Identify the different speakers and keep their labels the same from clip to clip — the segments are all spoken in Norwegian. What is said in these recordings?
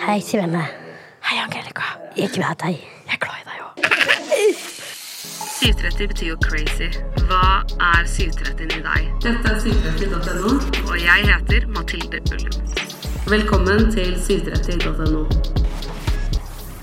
Speaker 1: Hei, Svenne.
Speaker 2: Hei, Angelica.
Speaker 1: Jeg er glad i deg.
Speaker 2: Jeg er glad i deg òg.
Speaker 3: 730 betyr jo crazy. Hva er 730 i deg? Dette er 730.no. Og jeg heter Mathilde Ullum. Velkommen til 730.no.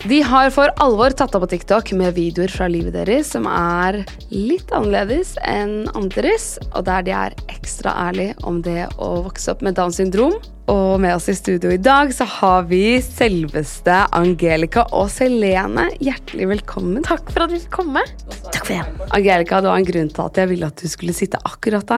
Speaker 3: De har for alvor tatt av på TikTok med videoer fra livet deres som er litt annerledes enn andres, og der de er ekstra ærlige om det å vokse opp med Downs syndrom. Og med oss i studio i dag så har vi selveste Angelica og Selene. Hjertelig velkommen.
Speaker 2: Takk for at vi fikk komme.
Speaker 1: Takk for det.
Speaker 3: Angelica, det var en grunn til at jeg ville at du skulle sitte akkurat der.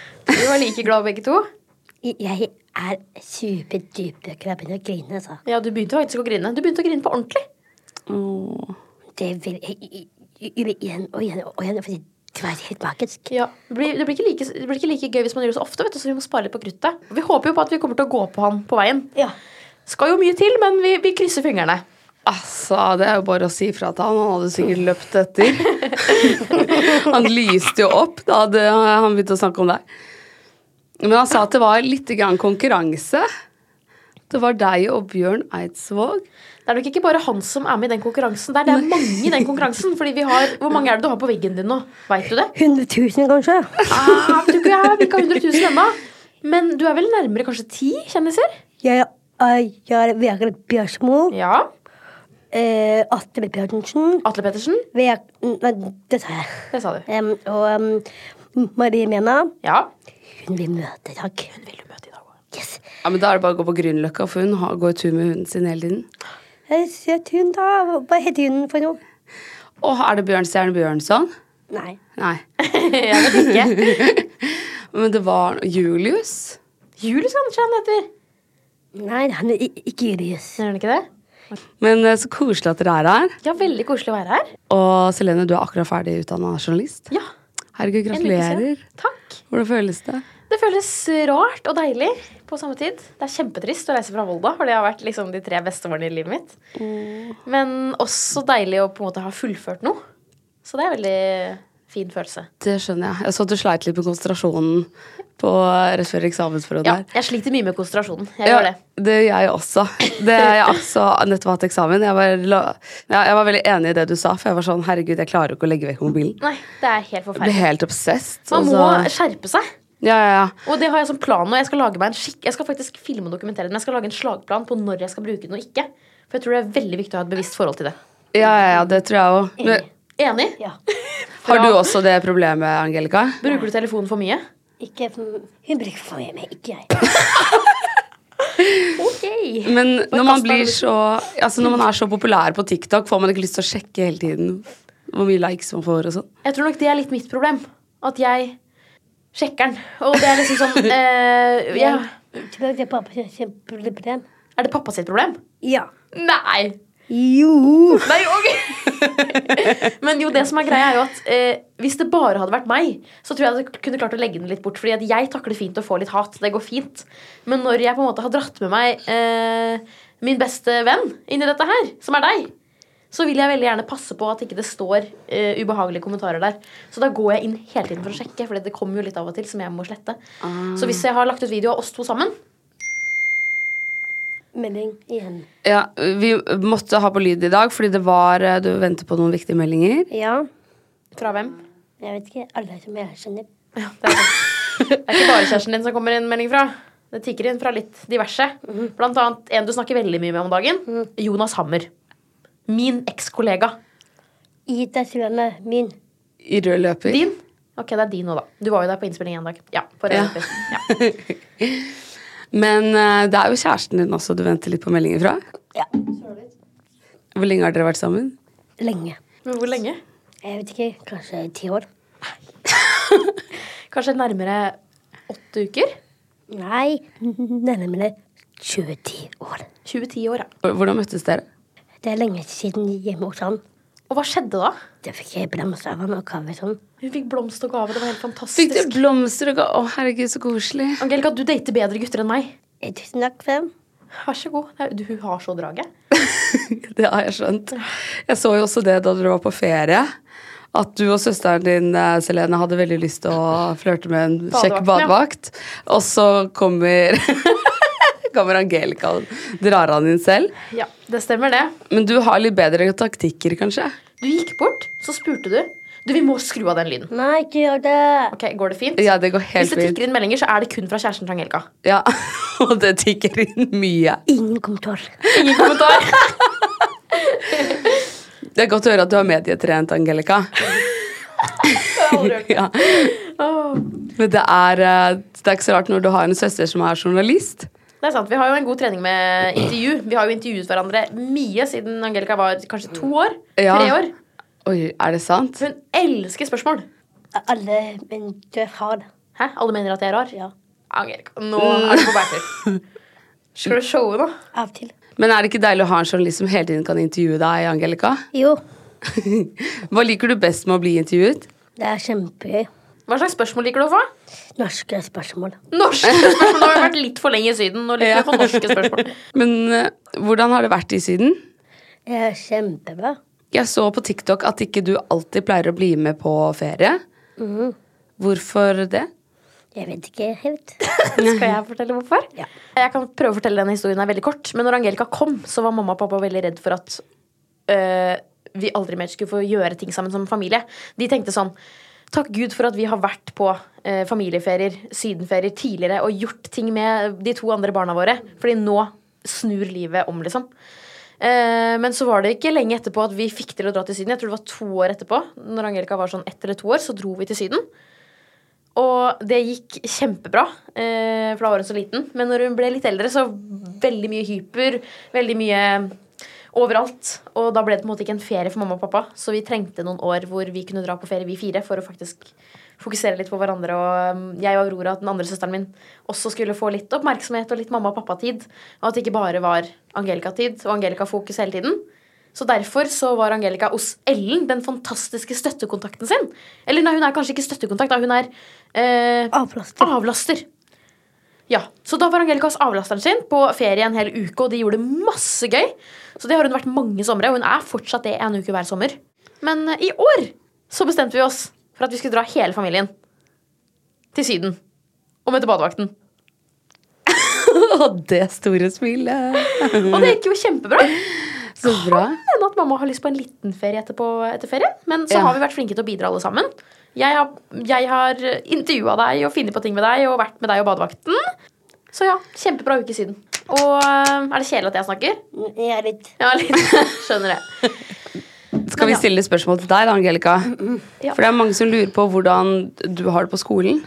Speaker 2: Vi var like glade begge to.
Speaker 1: Jeg er superdype krabben og griner, altså.
Speaker 2: Ja, Du begynte faktisk å grine. Du begynte å grine på ordentlig.
Speaker 1: Det vil jeg jeg- jeg- jeg vil igjen og igjen og igjen, fordi det var helt magisk.
Speaker 2: Ja, det blir, det, blir ikke like, det blir ikke like gøy hvis man gjør det så ofte, vet du, så vi må spare litt på kruttet. Vi håper jo på at vi kommer til å gå på han på veien.
Speaker 1: Ja.
Speaker 2: Skal jo mye til, men vi, vi krysser fingrene.
Speaker 3: Altså, Det er jo bare å si fra til han. Han hadde sikkert løpt etter. han lyste jo opp da hadde han begynte å snakke om deg. Men han sa at det var litt grann konkurranse. Det var deg og Bjørn Eidsvåg.
Speaker 2: Det er nok ikke bare han som er med i den konkurransen. Der. Det er mange i den konkurransen. Fordi vi har, Hvor mange er det du har på veggen din nå? Veit du det?
Speaker 1: 100 000, kanskje?
Speaker 2: Ah, du er ikke 100 000 ennå. Men du er vel nærmere kanskje ti kjendiser?
Speaker 1: Jeg er, jeg er Vegard Bjørsmo.
Speaker 2: Ja.
Speaker 1: Eh, Atle Bjørnsen.
Speaker 2: Atle Pettersen.
Speaker 1: Veg... Nei, det sa jeg.
Speaker 2: Det sa du.
Speaker 1: Em, og em, Marie Mena.
Speaker 2: Ja.
Speaker 1: Hun vil møte i dag. Hun vil
Speaker 2: Du møter i dag også.
Speaker 1: Yes.
Speaker 3: Ja, men Da er det bare å gå på Grünerløkka, for hun har, går tur med hunden sin hele tiden.
Speaker 1: Jeg ser Eh, at hun da. Hva heter hun for noe?
Speaker 3: Å, er det Bjørnstjerne Bjørnson?
Speaker 1: Nei.
Speaker 3: Nei.
Speaker 2: Jeg vet ikke.
Speaker 3: Men det var Julius.
Speaker 2: Julius kanskje han heter.
Speaker 1: Nei, han er i- ikke Julius.
Speaker 2: Gjør han ikke det?
Speaker 3: Men eh, så koselig at dere er her.
Speaker 2: Ja, veldig koselig å være her.
Speaker 3: Og Selene, du er akkurat ferdig utdanna journalist.
Speaker 2: Ja.
Speaker 3: Herregud,
Speaker 2: en uke siden.
Speaker 3: gratulerer.
Speaker 2: Takk.
Speaker 3: Hvordan føles det?
Speaker 2: Det føles eh, rart og deilig på samme tid. Det er kjempetrist å reise fra Volda, for det har vært liksom de tre beste årene i livet mitt. Men også deilig å på en måte ha fullført noe. Så det er en veldig fin følelse.
Speaker 3: Det skjønner jeg. Jeg så at du sleit litt med konsentrasjonen på, rett før eksamensperioden.
Speaker 2: Ja,
Speaker 3: her.
Speaker 2: jeg sliter mye med konsentrasjonen. Jeg gjør det.
Speaker 3: det gjør jeg også. Det har jeg også nettopp hatt eksamen. Jeg var, la- ja, jeg var veldig enig i det du sa, for jeg var sånn herregud, jeg klarer ikke å legge vekk mobilen.
Speaker 2: Nei, det er helt Altså-
Speaker 3: Jeg ble
Speaker 2: forferdelig.
Speaker 3: helt obsessed.
Speaker 2: Man
Speaker 3: og
Speaker 2: må
Speaker 3: så-
Speaker 2: skjerpe seg.
Speaker 3: Ja, ja, ja.
Speaker 2: Og det har jeg som plan nå. Jeg skal lage meg en skikk Jeg skal faktisk filme og dokumentere det, men jeg skal lage en slagplan på når jeg skal bruke den og ikke. For jeg tror det er veldig viktig å ha et bevisst forhold til det.
Speaker 3: ja, ja, ja det tror jeg òg. Men
Speaker 2: Enig?
Speaker 3: Har du også det problemet, Angelica?
Speaker 2: Bruker du telefonen for mye?
Speaker 1: Ikke, hun bruker for mye, men ikke jeg. ok.
Speaker 3: Men når man blir så Altså når man er så populær på TikTok, får man ikke lyst til å sjekke hele tiden hvor mye likes man får og sånn.
Speaker 2: Jeg tror nok det er litt mitt problem. At jeg sjekker den. Og det er liksom sånn eh, ja.
Speaker 1: Tror du det er pappa som kjemper på den?
Speaker 2: Er det pappa sitt problem?
Speaker 1: Ja.
Speaker 2: Nei!
Speaker 1: Jo.
Speaker 2: Nei, ok. Men jo, det som er greia er jo at eh, hvis det bare hadde vært meg, så tror jeg at jeg kunne klart å legge den litt bort. Fordi at jeg takler fint å få litt hat. Det går fint. Men når jeg på en måte har dratt med meg eh, min beste venn inn i dette her, som er deg, så vil jeg veldig gjerne passe på at ikke det står eh, ubehagelige kommentarer der. Så da går jeg inn hele tiden for å sjekke, for det kommer jo litt av og til som jeg må slette. Så hvis jeg har lagt ut video av oss to sammen,
Speaker 1: Melding igjen.
Speaker 3: Ja, vi måtte ha på lyd i dag fordi det var eh, Du venter på noen viktige meldinger.
Speaker 1: Ja.
Speaker 2: fra hvem?
Speaker 1: Jeg vet ikke. Alle som jeg kjenner.
Speaker 2: Det er, det. det er ikke bare kjæresten din som kommer inn melding fra. Det tikker inn fra litt diverse. Blant annet en du snakker veldig mye med om dagen. Jonas Hammer. Min ekskollega.
Speaker 1: Ida Sulanne, min.
Speaker 3: I rød løper.
Speaker 2: Din? Ok, det er din nå, da. Du var jo der på innspilling en dag. Ja, forrige
Speaker 3: Ja.
Speaker 2: uke. ja.
Speaker 3: Men eh, det er jo kjæresten din også du venter litt på meldinger fra.
Speaker 1: Ja.
Speaker 3: Hvor lenge har dere vært sammen?
Speaker 1: Lenge.
Speaker 2: Men hvor lenge?
Speaker 1: Jeg vet ikke. Kanskje ti år?
Speaker 2: Kanskje nærmere åtte uker?
Speaker 1: Nei. Nærmere 20 år.
Speaker 2: 2010 år, ja.
Speaker 3: H- Hvordan møttes dere?
Speaker 1: Det er lenge siden hjemme hos han.
Speaker 2: Og hva skjedde da?
Speaker 1: Da fikk jeg blomster av han og kaffe sånn.
Speaker 2: Hun fikk blomst og gave. Det var helt
Speaker 3: Fikk du
Speaker 2: fantastisk.
Speaker 3: blomster og ga Å, herregud, så koselig.
Speaker 2: Angelica, du dater bedre gutter enn meg.
Speaker 1: Eh, Tusen takk for dem.
Speaker 2: Vær så god. Det er- Du, hun har så draget.
Speaker 3: Det har jeg skjønt. Jeg så jo også det da dere var på ferie. At du og søsteren din eh, Selene, hadde veldig lyst til å flørte med en kjekk
Speaker 2: Badevakten, ja.
Speaker 3: badevakt. Og så kommer, kommer Angelica og drar han inn selv.
Speaker 2: Ja, det stemmer, det.
Speaker 3: Men du har litt bedre taktikker, kanskje?
Speaker 2: Du gikk bort, så spurte du. Du, vi må skru av den lyden.
Speaker 1: Nei, ikke gjør det.
Speaker 2: Ok, Går det fint?
Speaker 3: Ja, det går
Speaker 2: Hvis
Speaker 3: helt
Speaker 2: det
Speaker 3: fint.
Speaker 2: tikker inn meldinger, så er det kun fra kjæresten til Angelica.
Speaker 3: Ja, Og det tikker inn mye.
Speaker 1: Ingen kommentar.
Speaker 2: Ingen kommentar.
Speaker 3: Det er godt å høre at du har medietrent, Angelica. ja. Men det er, eh, det er ikke så rart når du har en søster som er journalist.
Speaker 2: Det er sant, Vi har jo en god trening med intervju. Vi har jo intervjuet hverandre mye siden Angelica var kanskje to år.
Speaker 3: Ja.
Speaker 2: Tre år.
Speaker 3: Oi, er det sant?
Speaker 2: Hun elsker spørsmål.
Speaker 1: Alle men du er hard.
Speaker 2: Hæ? Alle mener at jeg er rar?
Speaker 1: Ja.
Speaker 2: Angelica, nå er du på bærtur. Skal du showe nå?
Speaker 1: Av og til.
Speaker 3: Men er det ikke deilig å ha en journalist som hele tiden kan intervjue deg, Angelica?
Speaker 1: Jo.
Speaker 3: Hva liker du best med å bli intervjuet?
Speaker 1: Det er kjempegøy.
Speaker 2: Hva slags spørsmål liker du å få?
Speaker 1: Norske spørsmål.
Speaker 2: Norske spørsmål. Nå har vi vært litt for lenge i Syden. Nå liker vi å få norske spørsmål.
Speaker 3: Men eh, hvordan har det vært i Syden?
Speaker 1: Det er kjempebra.
Speaker 3: Jeg så på TikTok at ikke du alltid pleier å bli med på ferie. Hvorfor det?
Speaker 1: Jeg vet ikke helt.
Speaker 2: Skal jeg fortelle hvorfor? Jeg kan prøve å fortelle denne historien her veldig kort. Men når Angelica kom, så var mamma og pappa veldig redd for at øh, vi aldri mer skulle få gjøre ting sammen som familie. De tenkte sånn Takk Gud for at vi har vært på øh, familieferier, sydenferier, tidligere og gjort ting med de to andre barna våre. Fordi nå snur livet om, liksom. Eh, Men så var det ikke lenge etterpå at vi fikk til å dra til Syden. Jeg tror det var to år etterpå. Når Angelica var sånn ett eller to år, så dro vi til Syden. Og det gikk kjempebra, eh, for da var hun så liten. Men når hun ble litt eldre, så veldig mye hyper, veldig mye overalt. Og da ble det på en måte ikke en ferie for mamma og pappa, så vi trengte noen år hvor vi kunne dra på ferie, vi fire, for å faktisk fokusere litt på hverandre. Og mm, jeg og Aurora, den andre søsteren min, også skulle få litt oppmerksomhet og litt mamma og pappa-tid. Og at det ikke bare var Angelica-tid og Angelica-fokus hele tiden. Så derfor så var Angelica hos Ellen, den fantastiske støttekontakten sin. Eller nei, hun er kanskje ikke støttekontakt, da. hun er eh,
Speaker 1: Avplaster.
Speaker 2: avlaster. Ja, Så da var Angelica hos avlasteren sin på ferie en hel uke, og de gjorde masse gøy. Så det har hun vært mange somre, og hun er fortsatt det en uke hver sommer. Men eh, i år så bestemte vi oss for at vi skulle dra hele familien til Syden. Og møte badevakten.
Speaker 3: Og det store smilet!
Speaker 2: Og det gikk jo kjempebra.
Speaker 3: Så bra.
Speaker 2: hende at mamma har lyst på en liten ferie etterpå, etter ferien. Men så
Speaker 3: Ja.
Speaker 2: har vi vært flinke til å bidra alle sammen. Jeg har, jeg har intervjua deg og funnet på ting med deg og vært med deg og badevakten. Så ja, kjempebra uke siden. Og eh, er det kjedelig at jeg snakker?
Speaker 1: Jeg er litt
Speaker 2: Ja, litt. Skjønner det.
Speaker 3: Skal vi stille spørsmål til deg, da, Angelica?
Speaker 2: Ja.
Speaker 3: For det er mange som lurer på hvordan du har det på skolen.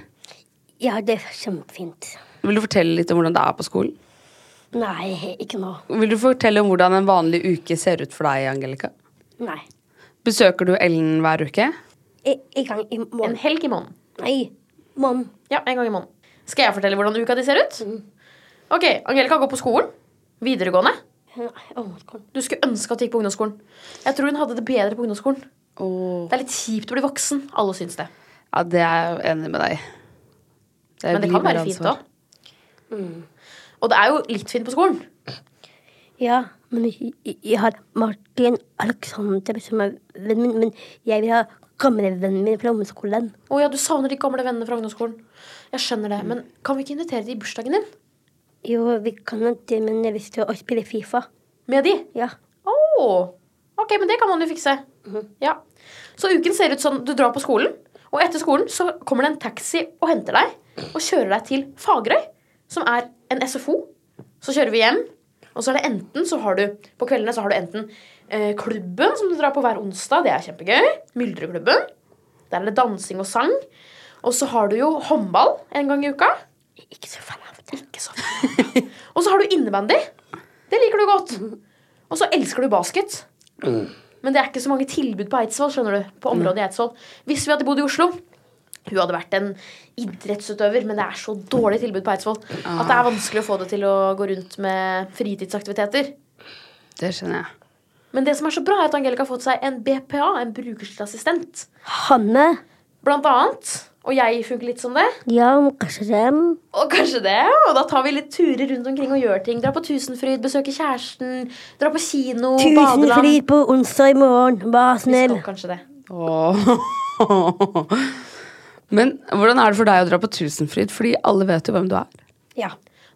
Speaker 1: Ja, det er kjempefint.
Speaker 3: Vil du fortelle litt om hvordan det er på skolen?
Speaker 1: Nei, ikke nå.
Speaker 3: Vil du fortelle om hvordan en vanlig uke ser ut for deg, Angelica?
Speaker 1: Nei.
Speaker 3: Besøker du Ellen hver uke?
Speaker 1: I- En gang i
Speaker 2: En
Speaker 1: måneden.
Speaker 2: helg i måneden.
Speaker 1: Nei, måneden.
Speaker 2: Ja, en gang i måneden. Skal jeg fortelle hvordan uka di ser ut?
Speaker 3: Mm.
Speaker 2: Ok, Angelica går på skolen. Videregående.
Speaker 1: Nei, oh ungdomsskolen.
Speaker 2: Du skulle ønske at du gikk på ungdomsskolen. Jeg tror hun hadde det bedre på ungdomsskolen. Det er litt kjipt å bli voksen. Alle syns det.
Speaker 3: Ja, det er jeg jo enig med deg. i. er
Speaker 2: Men det kan
Speaker 3: livet
Speaker 2: være fint
Speaker 3: ansvar.
Speaker 2: òg. Og det er jo litt fint på skolen.
Speaker 1: Ja, men jeg, jeg- jeg har Martin Alexander som er vennen min, men jeg vil ha gamlevennen min fra ungdomsskolen.
Speaker 2: Å ja, du savner de gamle vennene fra ungdomsskolen. Jeg skjønner det, men kan vi ikke invitere de i bursdagen din?
Speaker 1: Jo, vi kan jo det, men jeg har lyst til å spille Fifa.
Speaker 2: Med de?
Speaker 1: Ja.
Speaker 2: Å! Ok, men det kan man jo fikse. Ja. Så uken ser ut sånn. Du drar på skolen, og etter skolen så kommer det en taxi og henter deg. Og kjører deg til Fagerøy, som er en SFO. Så kjører vi hjem, og så er det enten så har du På kveldene så har du enten eh, klubben, som du drar på hver onsdag. Det er kjempegøy. Myldreklubben. Der er det dansing og sang. Og så har du jo håndball en gang i uka. Ikke så fan av det. Ikke så fan av det. og så har du innebandy. Det liker du godt. Og så elsker du basket. Men det er ikke så mange tilbud på Eidsvoll, skjønner du. På området i Eidsvoll. Hvis vi hadde bodd i Oslo Hun hadde vært en idrettsutøver, men det er så dårlig tilbud på Eidsvoll at det er vanskelig å få det til å gå rundt med fritidsaktiviteter.
Speaker 3: Det skjønner jeg.
Speaker 2: Men det som er så bra, er at Angelica har fått seg en BPA, en brukerstyrt assistent.
Speaker 1: Hanne.
Speaker 2: Blant annet. Og jeg funker litt som det.
Speaker 1: Ja, men kanskje dem.
Speaker 2: Og kanskje det, og da tar vi litt turer rundt omkring og gjør ting. Dra på Tusenfryd, besøke kjæresten, dra på kino,
Speaker 1: Tusen
Speaker 2: badeland.
Speaker 1: fryd på onsdag i morgen. Vær
Speaker 2: Vi skal
Speaker 1: snill.
Speaker 2: kanskje det.
Speaker 3: Åh. Men hvordan er det for deg å dra på Tusenfryd? Fordi alle vet jo hvem du er.
Speaker 2: Ja.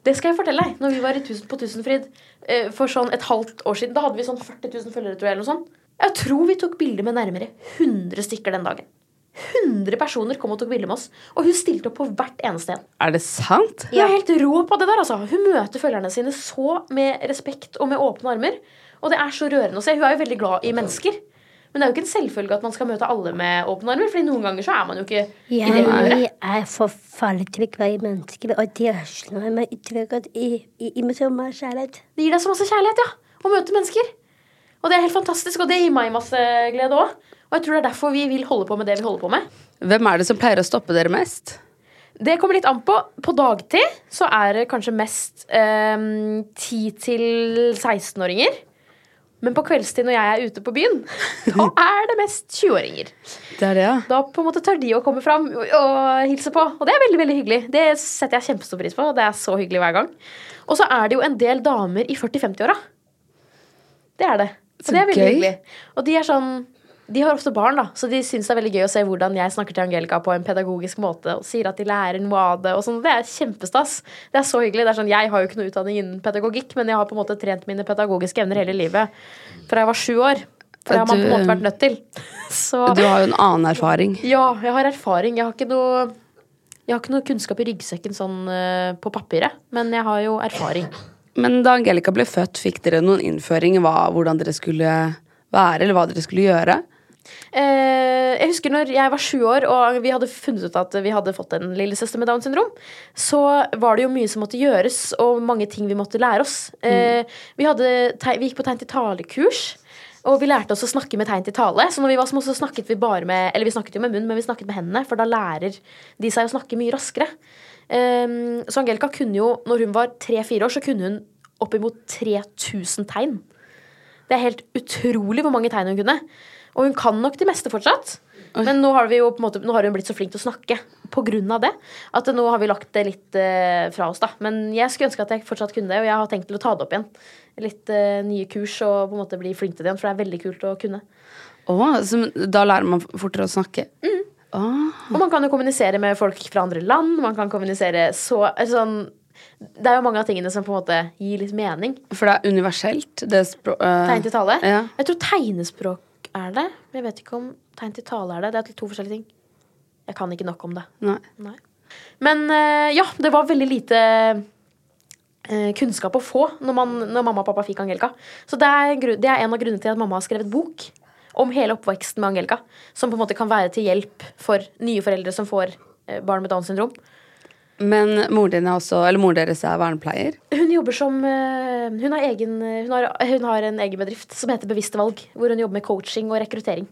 Speaker 2: Det skal jeg fortelle deg. Når vi var i tusen, på Tusenfryd eh, for sånn et halvt år siden, da hadde vi sånn 40 000 følgere, tror jeg. eller noe sånt. Jeg tror vi tok bilder med nærmere 100 stykker den dagen. 100 personer kom og tok bilder med oss, og hun stilte opp på hvert eneste en.
Speaker 3: Er det sant?
Speaker 2: Hun er helt rå på det der, altså. Hun møter følgerne sine så med respekt og med åpne armer. Og det er så rørende å se. Hun er jo veldig glad i mennesker. Men det er jo ikke en selvfølge at man skal møte alle med åpne armer, Fordi noen ganger så er man jo ikke i det humøret.
Speaker 1: Jeg er forferdelig til å være i mennesker, og det slår meg utrolig godt i, i, i med så mye kjærlighet.
Speaker 2: Det gir deg så masse kjærlighet, ja. Å møte mennesker. Og det er helt fantastisk, og det gir meg masse glede òg. Og jeg tror det er derfor vi vil holde på med det vi holder på med.
Speaker 3: Hvem er det som pleier å stoppe dere mest?
Speaker 2: Det kommer litt an på. På dagtid så er det kanskje mest eh, 10-16-åringer. Men på kveldstid når jeg er ute på byen, da er det mest 20-åringer.
Speaker 3: Det er det, ja.
Speaker 2: Da på en måte tør de å komme fram og, og hilse på. Og det er veldig veldig hyggelig. Det setter jeg kjempestor pris på. og Det er så hyggelig hver gang. Og så er det jo en del damer i 40-50-åra. Det er det. Og
Speaker 3: Så
Speaker 2: det er veldig
Speaker 3: gøy.
Speaker 2: hyggelig. Og de er sånn de har ofte barn, da, så de syns det er veldig gøy å se hvordan jeg snakker til Angelica på en pedagogisk måte og sier at de lærer noe av det. og sånn. Det er kjempestas. Det er så hyggelig. det er sånn, Jeg har jo ikke noe utdanning innen pedagogikk, men jeg har på en måte trent mine pedagogiske evner hele livet fra jeg var sju år. For det har man på en måte vært nødt til. Så
Speaker 3: Du har jo en annen erfaring.
Speaker 2: ja, jeg har erfaring. Jeg har ikke noe, jeg har ikke noe kunnskap i ryggsekken sånn eh, på papiret, men jeg har jo erfaring.
Speaker 3: Men da Angelica ble født, fikk dere noen innføring i hva, hvordan dere skulle være, eller hva dere skulle gjøre?
Speaker 2: Eh, jeg husker når jeg var sju år og vi hadde funnet ut at vi hadde fått en lillesøster med Downs syndrom, så var det jo mye som måtte gjøres, og mange ting vi måtte lære oss. Eh, vi, hadde, tei- vi gikk på tegn til tale-kurs. Og vi lærte oss å snakke med tegn til tale. Så når vi var små, så snakket vi bare med Eller vi snakket jo med munnen, men vi snakket med hendene, for da lærer de seg å snakke mye raskere. Eh, så Angelica kunne jo, når hun var tre-fire år, så kunne hun oppimot 3000 tegn. Det er helt utrolig hvor mange tegn hun kunne. Og hun kan nok det meste fortsatt. Men nå har, vi jo på en måte, nå har hun blitt så flink til å snakke på grunn av det. At nå har vi lagt det litt eh, fra oss, da. Men jeg skulle ønske at jeg fortsatt kunne det, og jeg har tenkt til å ta det opp igjen. Litt eh, nye kurs og på en måte bli flink til det igjen, for det er veldig kult å kunne.
Speaker 3: Å, så da lærer man fortere å snakke?
Speaker 2: Mm. Og man kan jo kommunisere med folk fra andre land. Man kan kommunisere så altså sånn Det er jo mange av tingene som på en måte gir litt mening.
Speaker 3: For det er universelt, det språ... eh,
Speaker 2: Tegn til tale.
Speaker 3: Ja.
Speaker 2: Jeg tror tegnespråk er det. Men jeg vet ikke om tegn til tale er det. Det er to forskjellige ting. Jeg kan ikke nok om det.
Speaker 3: Nei.
Speaker 2: Nei. Men eh, ja, det var veldig lite eh, kunnskap å få når, man, når mamma og pappa fikk Angelica. Så det er, gru- det er en av grunnene til at mamma har skrevet bok om hele oppveksten med Angelica. Som på en måte kan være til hjelp for nye foreldre som får eh, barn med Downs syndrom.
Speaker 3: Men moren din er også Eller moren deres er vernepleier.
Speaker 2: Hun jobber som eh, hun har, egen, hun, har, hun har en egen bedrift som heter Bevisste valg, hvor hun jobber med coaching og rekruttering.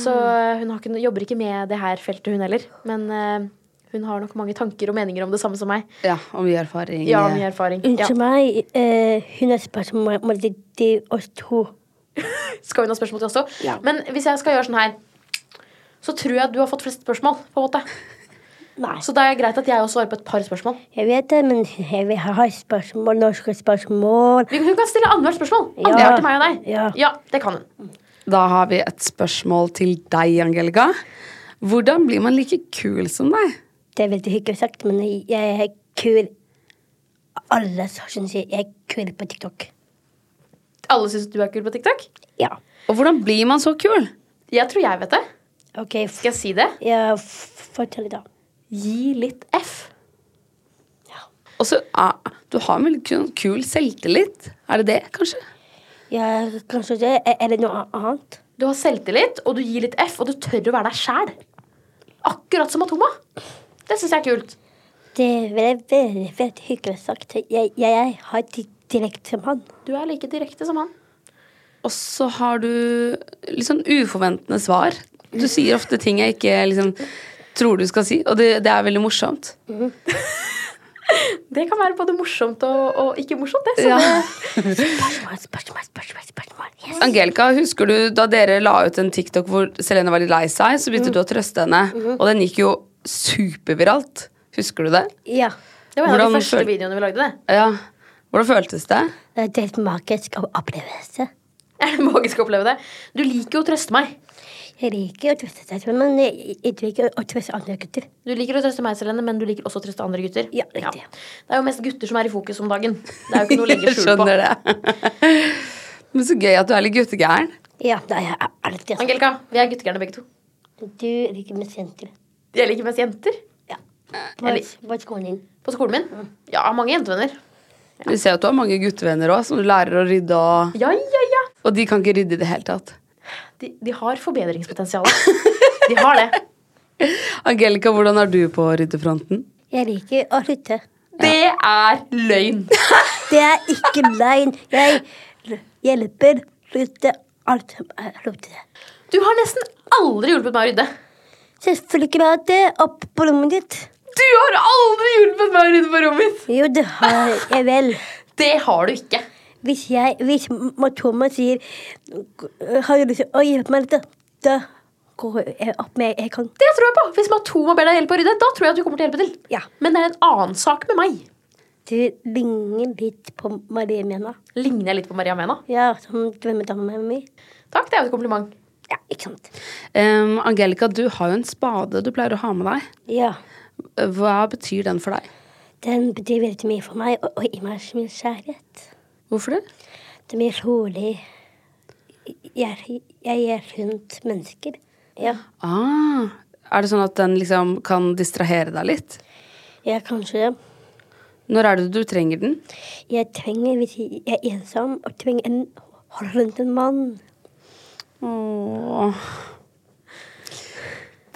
Speaker 2: Så eh, hun har ikke, jobber ikke med det her feltet, hun heller. Men eh, hun har nok mange tanker og meninger om det samme som meg.
Speaker 3: Ja, og mye erfaring.
Speaker 2: Ja, mye erfaring. Ja.
Speaker 1: Unnskyld meg, eh, hun er spørsmål om det til oss to.
Speaker 2: Skal hun ha spørsmål til oss også? Men hvis jeg skal gjøre sånn her, så tror jeg at du har fått flest spørsmål. på en måte.
Speaker 1: Nei.
Speaker 2: Så det er greit at jeg også svarer på et par spørsmål.
Speaker 1: Jeg vet det, men jeg vil ha spørsmål, norske spørsmål.
Speaker 2: Vi- Hun kan stille annethvert spørsmål.
Speaker 1: Ja.
Speaker 2: Annethvert til meg og deg.
Speaker 1: Ja.
Speaker 2: det kan hun.
Speaker 3: Da har vi et spørsmål til deg, Angelica. Hvordan blir man like kul som deg?
Speaker 1: Det er veldig hyggelig sagt, men jeg er kul. Alle syns jeg er kul på TikTok.
Speaker 2: Alle syns du er kul på TikTok?
Speaker 1: Ja.
Speaker 3: Og hvordan blir man så kul?
Speaker 2: Jeg tror jeg vet det.
Speaker 1: OK, f
Speaker 2: Skal jeg si det?
Speaker 1: ja, f- fortell, da.
Speaker 2: Gi litt F.
Speaker 3: Og så er, Du har en veldig kul, kul selvtillit. Er det det, kanskje?
Speaker 1: Ja, kanskje det. e- Eller noe annet.
Speaker 2: Du har selvtillit, og du gir litt F, og du tør å være deg sjæl. Akkurat som Atoma. Det syns jeg er kult.
Speaker 1: Det er veldig, veldig, veldig hyggelig sagt. Jeg, jeg, jeg har di- direkte som han.
Speaker 2: Du er like direkte som han.
Speaker 3: Og så har du litt sånn uforventende svar. Du sier ofte ting jeg ikke liksom, tror du skal si, og det, det er veldig morsomt.
Speaker 2: Det kan være både morsomt og, og ikke morsomt. det. Så
Speaker 3: Ja.
Speaker 1: Spørsmål, spørsmål, spørsmål. spørsmål. Yes.
Speaker 3: Angelica, husker du da dere la ut en TikTok hvor Selene var litt lei seg, så begynte du å trøste henne, og den gikk jo superviralt. Husker du det?
Speaker 1: Ja.
Speaker 2: Det var en av
Speaker 3: Hvordan
Speaker 2: de første
Speaker 3: føl-
Speaker 2: videoene vi lagde. det.
Speaker 3: Ja. Hvordan føltes det?
Speaker 1: Det er helt magisk å oppleve det.
Speaker 2: Er det magisk å oppleve det? Du liker jo å trøste meg.
Speaker 1: Jeg liker å trøste seg selv, men jeg, jeg- jeg liker å trøste andre gutter.
Speaker 2: Du liker å trøste meg, Selene, men du liker også å trøste andre gutter.
Speaker 1: Ja, riktig.
Speaker 2: Det er jo mest gutter som er i fokus om dagen. Det er jo ikke noe å legge skjul på.
Speaker 3: Skjønner det. Men så gøy at du er litt guttegæren.
Speaker 1: Ja, det er jeg alltid. Altså.
Speaker 2: Angelica, vi er guttegærne begge to.
Speaker 1: Du liker med senter.
Speaker 2: Jeg liker mest jenter
Speaker 1: Ja. Hva
Speaker 2: Jeg
Speaker 1: er
Speaker 2: lik-
Speaker 1: hva er skolen din?
Speaker 2: på skolen min. Ja, mange jentevenner.
Speaker 3: Vi ser jo at du har mange guttevenner òg, som du lærer å rydde, og,
Speaker 2: Ja, ja, ja.
Speaker 3: og de kan ikke rydde i det hele tatt.
Speaker 2: De, de har forbedringspotensial. De har det.
Speaker 3: Angelica, hvordan er du på ryddefronten?
Speaker 1: Jeg liker å lytte.
Speaker 2: Det er løgn.
Speaker 1: Det er ikke løgn. Jeg hjelper lytte alt som er rotete.
Speaker 2: Du har nesten aldri hjulpet meg å rydde.
Speaker 1: Selvfølgelig ikke bare det. Opp på rommet ditt.
Speaker 2: Du har aldri hjulpet meg å rydde på rommet mitt!
Speaker 1: Jo, det har jeg vel.
Speaker 2: Det har du ikke.
Speaker 1: Hvis jeg, hvis Matoma sier Har du lyst til å hjelpe meg litt, da går jeg opp med jeg kan.
Speaker 2: Det tror jeg på. Hvis Matoma ber deg hjelpe å rydde, da tror jeg at du kommer til å hjelpe til.
Speaker 1: Ja.
Speaker 2: Men det er en annen sak med meg.
Speaker 1: Du ligner litt på Marie Mena.
Speaker 2: Ligner jeg litt på Maria Mena?
Speaker 1: Ja, som drømmedama mi.
Speaker 2: Takk, det er jo et kompliment.
Speaker 1: Ja, ikke sant.
Speaker 3: Em, Angelica, du har jo en spade du pleier å ha med deg.
Speaker 1: Ja.
Speaker 3: Hva betyr den for deg?
Speaker 1: Den betyr veldig mye for meg og, og i meg som min kjærlighet.
Speaker 3: Hvorfor det?
Speaker 1: Det blir rolig. Jeg, jeg er rundt mennesker. Ja.
Speaker 3: Ah, er det sånn at den liksom kan distrahere deg litt?
Speaker 1: Jeg er kanskje det.
Speaker 3: Når er det du trenger den?
Speaker 1: Jeg trenger, hvis jeg er ensom, å trenger en hold rundt en mann.
Speaker 3: Åh.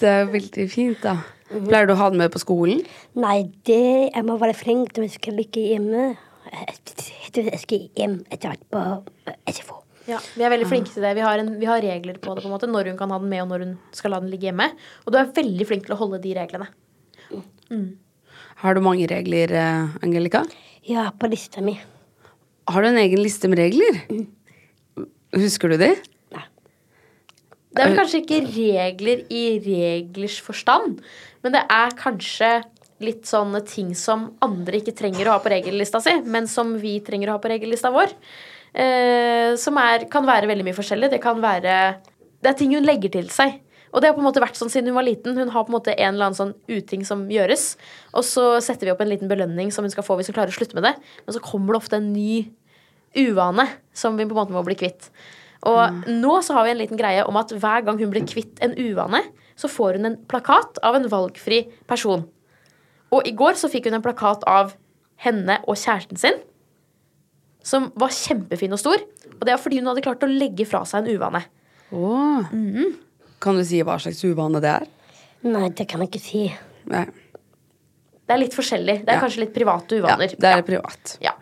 Speaker 3: Det er jo veldig fint, da.
Speaker 2: Mhm.
Speaker 3: Pleier du å ha den med på skolen?
Speaker 1: Nei, det jeg må være flink til å huske lykke hjemme. Jeg tror jeg skal hjem etter hvert på eh, SFO.
Speaker 2: Ja, Vi er veldig flinke til det. Vi har, en, vi har regler på det. på en måte, Når hun kan ha den med, og når hun skal la den ligge hjemme. Og du er veldig flink til å holde de reglene.
Speaker 3: Har du mange regler, eh, Angelica?
Speaker 1: Ja, på lista mi.
Speaker 3: Har du en egen liste med regler?
Speaker 2: Mhm.
Speaker 3: Husker du de?
Speaker 2: Det er vel kanskje ikke regler i reglers forstand, men det er kanskje litt sånne ting som andre ikke trenger å ha på regellista si, men som vi trenger å ha på regellista vår. Eh, som er, kan være veldig mye forskjellig. Det kan være Det er ting hun legger til seg. Og det har på en måte vært sånn siden hun var liten. Hun har på en måte en eller annen sånn uting som gjøres. Og så setter vi opp en liten belønning som hun skal få hvis hun klarer å slutte med det. Men så kommer det ofte en ny uvane som vi på en måte må bli kvitt. Og
Speaker 3: Mm.
Speaker 2: nå så har vi en liten greie om at hver gang hun blir kvitt en uvane, så får hun en plakat av en valgfri person. Og i går så fikk hun en plakat av henne og kjæresten sin. Som var kjempefin og stor. Og det var fordi hun hadde klart å legge fra seg en uvane.
Speaker 3: Åh. Mhm. Kan du si hva slags uvane det er?
Speaker 1: Nei, det kan jeg ikke si.
Speaker 3: Nei.
Speaker 2: Det er litt forskjellig. Det er
Speaker 3: Ja.
Speaker 2: kanskje litt private
Speaker 3: Ja,
Speaker 2: uvaner.
Speaker 3: det er privat.
Speaker 2: Ja.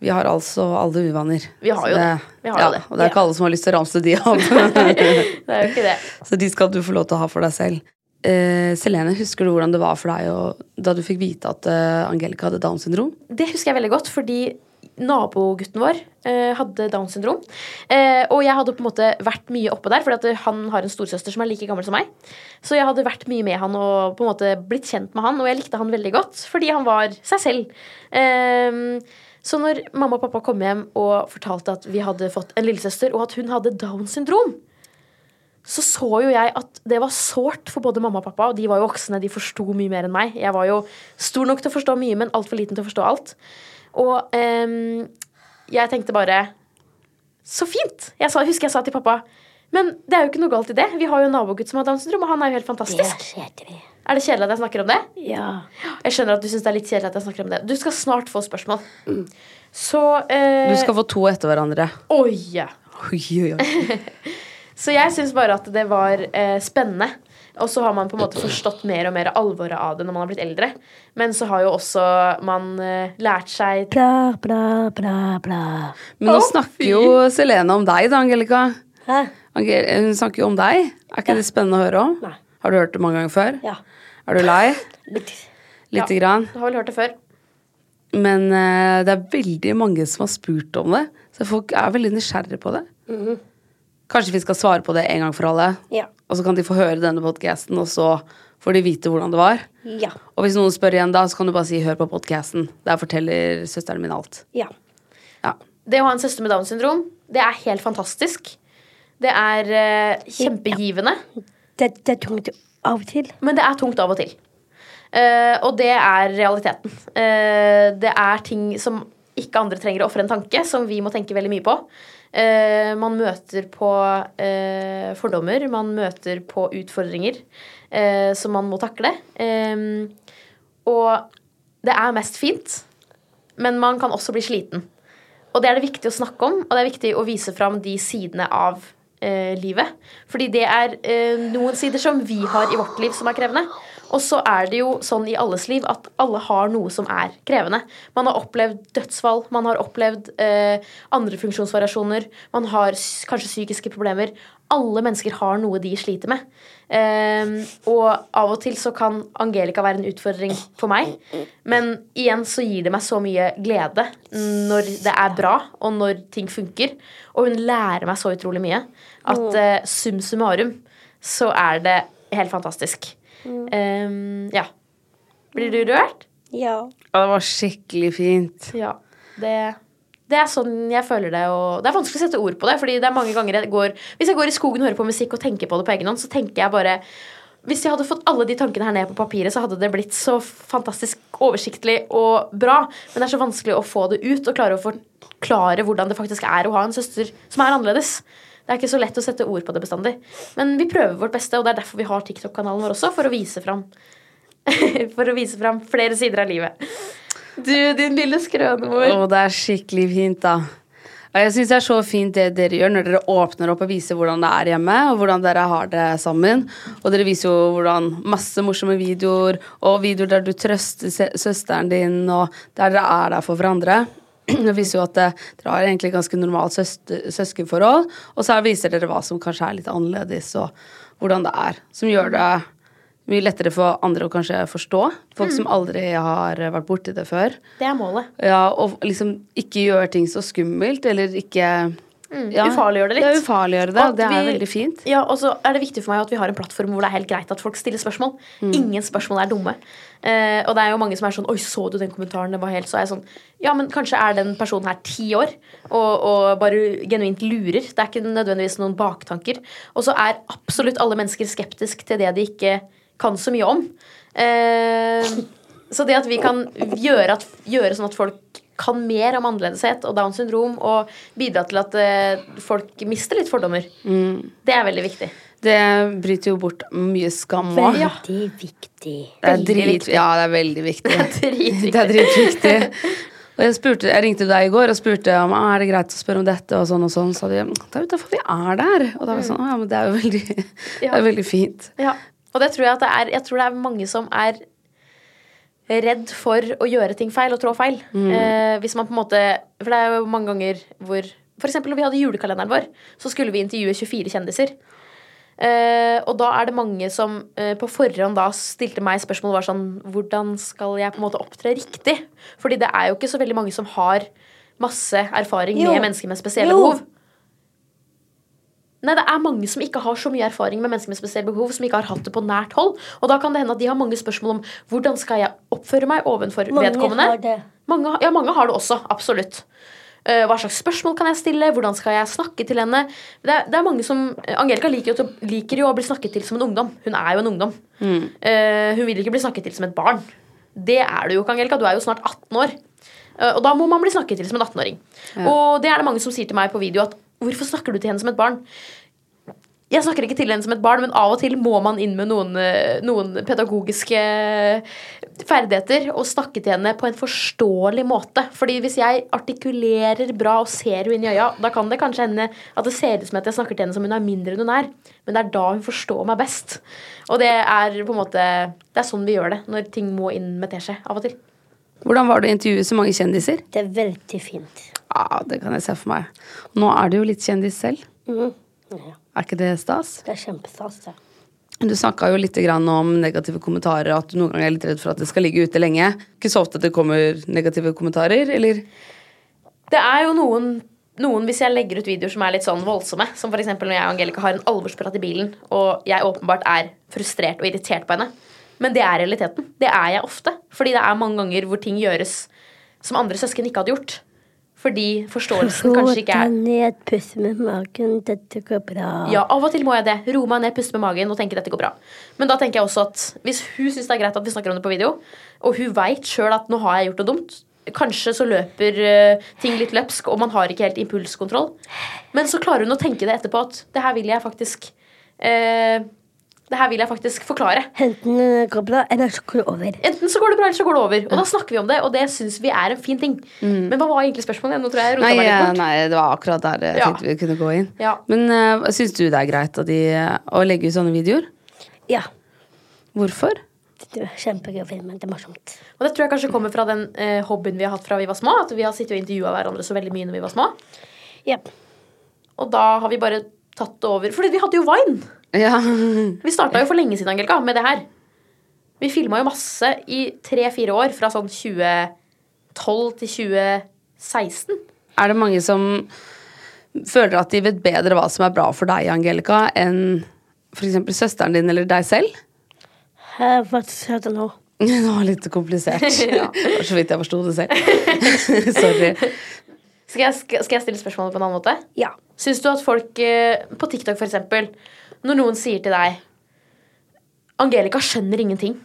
Speaker 3: Vi har altså alle uvaner.
Speaker 2: Vi har jo
Speaker 3: Så
Speaker 2: det. Vi har jo
Speaker 3: ja,
Speaker 2: det.
Speaker 3: Og det er ikke alle som har lyst til å ramse de opp.
Speaker 2: Det er jo ikke det.
Speaker 3: Så de skal du få lov til å ha for deg selv. Eh, Selene, husker du hvordan det var for deg å- da du fikk vite at eh, Angelica hadde Downs syndrom?
Speaker 2: Det husker jeg veldig godt, fordi nabogutten vår eh, hadde Downs syndrom. Eh, og jeg hadde på en måte vært mye oppe der, for han har en storesøster som er like gammel som meg. Så jeg hadde vært mye med han og på en måte blitt kjent med han, og jeg likte han veldig godt fordi han var seg selv. Eh, så når mamma og pappa kom hjem og fortalte at vi hadde fått en lillesøster, og at hun hadde Downs syndrom, så så jo jeg at det var sårt for både mamma og pappa. Og de var jo voksne, de forsto mye mer enn meg. Jeg var jo stor nok til å forstå mye, men altfor liten til å forstå alt. Og ehm, jeg tenkte bare Så fint! Jeg sa, husker jeg sa til pappa Men det er jo ikke noe galt i det. Vi har jo en nabogutt som har Downs syndrom, og han er jo helt
Speaker 1: Det
Speaker 2: fantastisk.
Speaker 1: er kjedelig.
Speaker 2: Er det kjedelig at jeg snakker om det?
Speaker 1: Ja.
Speaker 2: Jeg skjønner at du syns det er litt kjedelig at jeg snakker om det. Du skal snart få spørsmål. Så
Speaker 3: Mm. Du
Speaker 2: eh,
Speaker 3: skal få to etter hverandre.
Speaker 2: Oi, ja.
Speaker 3: Oi, oi, oi.
Speaker 2: Så jeg syns bare at det var eh, spennende. Og så har man på en måte forstått mer og mer alvoret av det når man har blitt eldre. Men så har jo også man eh, lært seg
Speaker 1: Bla, bla, bla, bla.
Speaker 3: Men nå snakker jo Selene om deg, da, Angelica.
Speaker 1: Hæ?
Speaker 3: Angel hun snakker jo om deg. Er ikke det spennende å høre om?
Speaker 1: Nei.
Speaker 3: Har du hørt det mange ganger før?
Speaker 1: Ja.
Speaker 3: Er du lei?
Speaker 1: Litt.
Speaker 3: Lite
Speaker 2: Ja.
Speaker 3: grann.
Speaker 2: Du har vel hørt det før?
Speaker 3: Men eh, det er veldig mange som har spurt om det. Så folk er veldig nysgjerrige på det. Kanskje vi skal svare på det en gang for alle?
Speaker 1: Mhm. Ja.
Speaker 3: Og så kan de få høre denne podcasten, og så får de vite hvordan det var.
Speaker 1: Ja.
Speaker 3: Og hvis noen spør igjen da, så kan du bare si 'hør på podcasten'. Der forteller søsteren min alt.
Speaker 1: Ja.
Speaker 3: Ja.
Speaker 2: Det å ha en søster med Downs syndrom, det er helt fantastisk. Det er eh, kjempegivende.
Speaker 1: Det, det er tungt av og til.
Speaker 2: Men det er tungt av og til. Eh, og det er realiteten. Eh, det er ting som ikke andre trenger å ofre en tanke, som vi må tenke veldig mye på. Eh, man møter på eh, fordommer, man møter på utfordringer eh, som man må takle. Eh, og det er mest fint, men man kan også bli sliten. Og det er det viktig å snakke om, og det er viktig å vise fram de sidene av eh, livet. Fordi det er eh, noen sider som vi har i vårt liv som er krevende. Og så er det jo sånn i alles liv at alle har noe som er krevende. Man har opplevd dødsfall, man har opplevd eh, andre funksjonsvariasjoner, man har s- kanskje psykiske problemer. Alle mennesker har noe de sliter med. Eh, og av og til så kan Angelica være en utfordring for meg. Men igjen så gir det meg så mye glede når det er bra, og når ting funker. Og hun lærer meg så utrolig mye at eh, sum summarum så er det helt fantastisk. Eh, ja. Blir du rørt?
Speaker 1: Ja.
Speaker 3: Ja, det var skikkelig fint.
Speaker 2: Ja. Det, det er sånn jeg føler det. Og det er vanskelig å sette ord på det. Fordi det er mange ganger jeg går, Hvis jeg går i skogen og hører på musikk og tenker på det på egen hånd, så tenker jeg bare Hvis jeg hadde fått alle de tankene her ned på papiret, så hadde det blitt så fantastisk oversiktlig og bra. Men det er så vanskelig å få det ut og klare å forklare hvordan det faktisk er å ha en søster som er annerledes. Det er ikke så lett å sette ord på det bestandig. Men vi prøver vårt beste, og det er derfor vi har TikTok-kanalen vår også, for å vise fram. for å vise fram flere sider av livet. Du, din lille skrønemor.
Speaker 3: Å, det er skikkelig fint, da. Og jeg syns det er så fint det dere gjør når dere åpner opp og viser hvordan det er hjemme, og hvordan dere har det sammen. Og dere viser jo hvordan masse morsomme videoer, og videoer der du trøster se- søsteren din, og der dere er der for hverandre. Det viser jo at eh, dere har egentlig ganske normalt søster, søskenforhold, og så her viser dere hva som kanskje er litt annerledes, og hvordan det er. Som gjør det mye lettere for andre å kanskje forstå. Folk som aldri har eh, vært borti det før.
Speaker 2: Det er målet.
Speaker 3: Ja, og liksom ikke gjøre ting så skummelt, eller ikke ja,
Speaker 2: ufarliggjør Mm, det litt.
Speaker 3: Ja, ufarliggjør det,
Speaker 2: At
Speaker 3: og det er
Speaker 2: vi-
Speaker 3: veldig fint.
Speaker 2: Ja, og så er det viktig for meg at vi har en plattform hvor det er helt greit at folk stiller spørsmål. Ingen spørsmål er dumme. Eh, og det er jo mange som er sånn Oi, så du den kommentaren? Det var helt så er jeg sånn Ja, men kanskje er den personen her ti år og, og bare genuint lurer. Det er ikke nødvendigvis noen baktanker. Og så er absolutt alle mennesker skeptisk til det de ikke kan så mye om. Eh, så det at vi kan gjøre, at, gjøre sånn at folk kan mer om annerledeshet og Downs syndrom, og bidra til at eh, folk mister litt fordommer, det er veldig viktig.
Speaker 3: Det bryter jo bort mye skam òg.
Speaker 1: Veldig viktig.
Speaker 3: Det er
Speaker 2: veldig
Speaker 3: drit,
Speaker 2: viktig.
Speaker 3: ja, det er veldig viktig.
Speaker 2: Dritviktig.
Speaker 3: Det er dritviktig. Og jeg, spurte, jeg ringte deg i går og spurte om ah, er det greit å spørre om dette. Og sånn og sånn, sa de det er jo derfor vi er der. Og da var
Speaker 2: Mm.
Speaker 3: jeg sånn, «Å ja, men det er jo veldig, det er veldig fint.
Speaker 2: Ja. Og det tror jeg, at det er, jeg tror det er mange som er redd for å gjøre ting feil og trå feil.
Speaker 1: Mm.
Speaker 2: Eh, hvis man på en måte For det er jo mange ganger hvor For eksempel når vi hadde julekalenderen vår, så skulle vi intervjue 24 kjendiser. Eh, og da er det mange som eh, på forhånd da stilte meg spørsmål var sånn Hvordan skal jeg på en måte opptre riktig? Fordi det er jo ikke så veldig mange som har masse erfaring
Speaker 1: Jo.
Speaker 2: med mennesker med spesielle
Speaker 1: Jo.
Speaker 2: behov. Nei, det er mange som ikke har så mye erfaring med mennesker med spesielle behov, som ikke har hatt det på nært hold. Og da kan det hende at de har mange spørsmål om hvordan skal jeg oppføre meg overfor
Speaker 1: Mange
Speaker 2: vedkommende.
Speaker 1: har det.
Speaker 2: Mange, har- ja, mange har det også. Absolutt. Eh, Hva slags spørsmål kan jeg stille? Hvordan skal jeg snakke til henne? Det er, det er mange som, eh, Angelica liker jo, til- liker jo å bli snakket til som en ungdom. Hun er jo en ungdom.
Speaker 1: Mm.
Speaker 2: Eh, hun vil ikke bli snakket til som et barn. Det er du jo ikke, Angelica. Du er jo snart 18 år. Eh, og da må man bli snakket til som en 18-åring. Og det er det mange som sier til meg på video at hvorfor snakker du til henne som et barn? Jeg snakker ikke til henne som et barn, men av og til må man inn med noen, eh, noen pedagogiske ferdigheter og snakke til henne på en forståelig måte. Fordi hvis jeg artikulerer bra og ser henne inn i øya, da kan det kanskje hende at det ser ut som at jeg snakker til henne som hun er mindre enn hun er, men det er da hun forstår meg best. Og det er på en måte Det er sånn vi gjør det når ting må inn med teskje av og til.
Speaker 3: Hvordan var det å intervjue så mange kjendiser?
Speaker 1: Det er veldig fint.
Speaker 3: Ja, Det kan jeg se for meg. Nå er du jo litt kjendis selv.
Speaker 1: Mm. Ja,
Speaker 3: Er ikke det stas?
Speaker 1: det er kjempestas, det.
Speaker 3: Du snakka jo litt grann om negative kommentarer, og at du noen ganger er litt redd for at det skal ligge ute lenge. Ikke så ofte at det kommer negative kommentarer, eller?
Speaker 2: Det er jo noen, noen hvis jeg legger ut videoer som er litt sånn voldsomme, som f.eks. når jeg og Angelica har en alvorsprat i bilen, og jeg åpenbart er frustrert og irritert på henne. Men det er realiteten. Det er jeg ofte. Fordi det er mange ganger hvor ting gjøres som andre søsken ikke hadde gjort. Fordi forståelsen kanskje ikke er
Speaker 1: ned, pusse med magen, dette går bra.
Speaker 2: ja, av og til må jeg det. Roe meg ned, puste med magen og tenke dette går bra. Men da tenker jeg også at hvis hun syns det er greit at vi snakker om det på video, og hun veit sjøl at nå har jeg gjort noe dumt, kanskje så løper eh, ting litt løpsk, og man har ikke helt impulskontroll, men så klarer hun å tenke det etterpå at det her vil jeg faktisk eh, Det her vil jeg faktisk forklare.
Speaker 1: Enten går bra, eller så går det over.
Speaker 2: Enten så går det bra, eller så går det over. Og da snakker vi om det, og det syns vi er en fin ting. Men hva var egentlig spørsmålet? Nå tror jeg jeg rota
Speaker 3: Mm. Nei,
Speaker 2: meg litt
Speaker 3: eh,
Speaker 2: bort.
Speaker 3: nei, det var akkurat der jeg
Speaker 2: Ja.
Speaker 3: tenkte vi kunne gå inn.
Speaker 2: Ja.
Speaker 3: Men uh, syns du det er greit at de, eh, å legge ut sånne videoer?
Speaker 1: Ja.
Speaker 3: Hvorfor?
Speaker 1: Det er kjempegøy film, men det er morsomt.
Speaker 2: Og det tror jeg kanskje kommer fra den eh, hobbyen vi har hatt fra vi var små. At vi har sittet og intervjua hverandre så veldig mye når vi var små.
Speaker 1: Ja.
Speaker 2: Og da har vi bare tatt det over. Fordi vi hadde jo Vine!
Speaker 3: Ja.
Speaker 2: Vi starta jo for lenge siden Angelica, med det her. Vi filma jo masse i tre-fire år, fra sånn 2012 til 2016.
Speaker 3: Er det mange som føler at de vet bedre hva som er bra for deg, Angelica, enn f.eks. søsteren din eller deg selv?
Speaker 1: Her, Hva sa du nå?
Speaker 3: Det var litt komplisert. Det var så vidt jeg forsto det selv. Sorry.
Speaker 2: Skal jeg, skal skal jeg stille spørsmålet på en annen måte?
Speaker 1: Ja.
Speaker 2: Syns du at folk eh, på TikTok for eksempel, når noen sier til deg Angelica skjønner ingenting.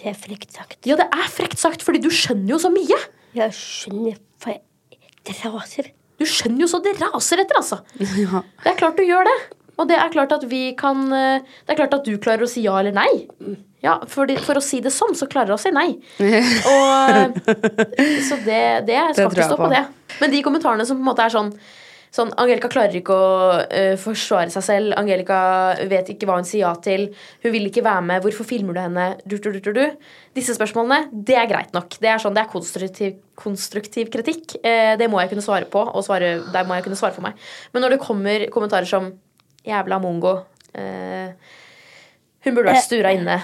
Speaker 1: Det er frekt sagt.
Speaker 2: Ja, det er frekt sagt, fordi du skjønner jo så mye.
Speaker 1: Jeg skjønner, for det raser.
Speaker 2: Du skjønner jo så det raser etter, altså. Det er klart du gjør det. Og det er klart at vi kan eh, Det er klart at du klarer å si ja eller nei. Ja, fordi, For å si det sånn, så klarer jeg å si nei. Og, så det, det skal
Speaker 3: tror jeg
Speaker 2: ikke stå på.
Speaker 3: på.
Speaker 2: det. Men de kommentarene som på en måte er sånn Sånn, Angelica klarer ikke å eh, forsvare seg selv. Angelica vet ikke hva hun sier ja til. Hun vil ikke være med. Hvorfor filmer du henne? Du, du, du, du, du. Disse spørsmålene det er greit nok. Det er, sånn, det er konstruktiv, konstruktiv kritikk. Eh, det må jeg kunne svare på, og svare, der må jeg kunne svare for meg. Men når det kommer kommentarer som 'jævla mongo', eh, 'hun burde vært stura inne',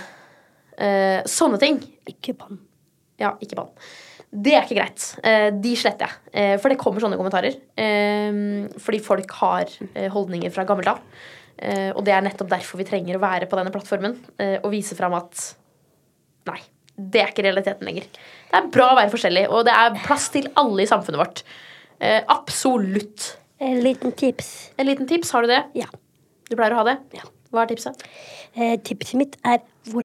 Speaker 2: eh, sånne ting
Speaker 1: Ikke bann.
Speaker 2: ja, ikke bann. Det er ikke greit. Eh, De sletter jeg. Eh, For det kommer sånne kommentarer. Eh, Fordi folk har eh, holdninger fra gammelt av. Eh, Og det er nettopp derfor vi trenger å være på denne plattformen eh, og vise fram at Nei. Det er ikke realiteten lenger. Det er bra å være forskjellig, og det er plass til alle i samfunnet vårt. Eh, absolutt.
Speaker 1: En liten tips.
Speaker 2: En liten tips, har du det?
Speaker 1: Ja.
Speaker 2: Du pleier å ha det? Hva er tipset?
Speaker 1: Eh, tipset mitt er hvor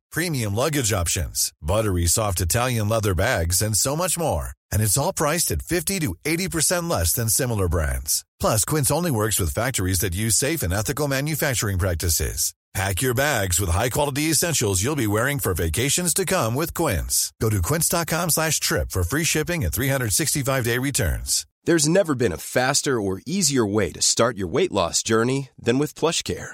Speaker 4: premium luggage options, buttery soft Italian leather bags, and so much more. And it's all priced at 50 to 80% less than similar brands. Plus, Quince only works with factories that use safe and ethical manufacturing practices. Pack your bags with high-quality essentials you'll be wearing for vacations to come with Quince. Go to quince.com slash trip for free shipping and 365-day returns.
Speaker 5: There's never been a faster or easier way to start your weight loss journey than with PlushCare.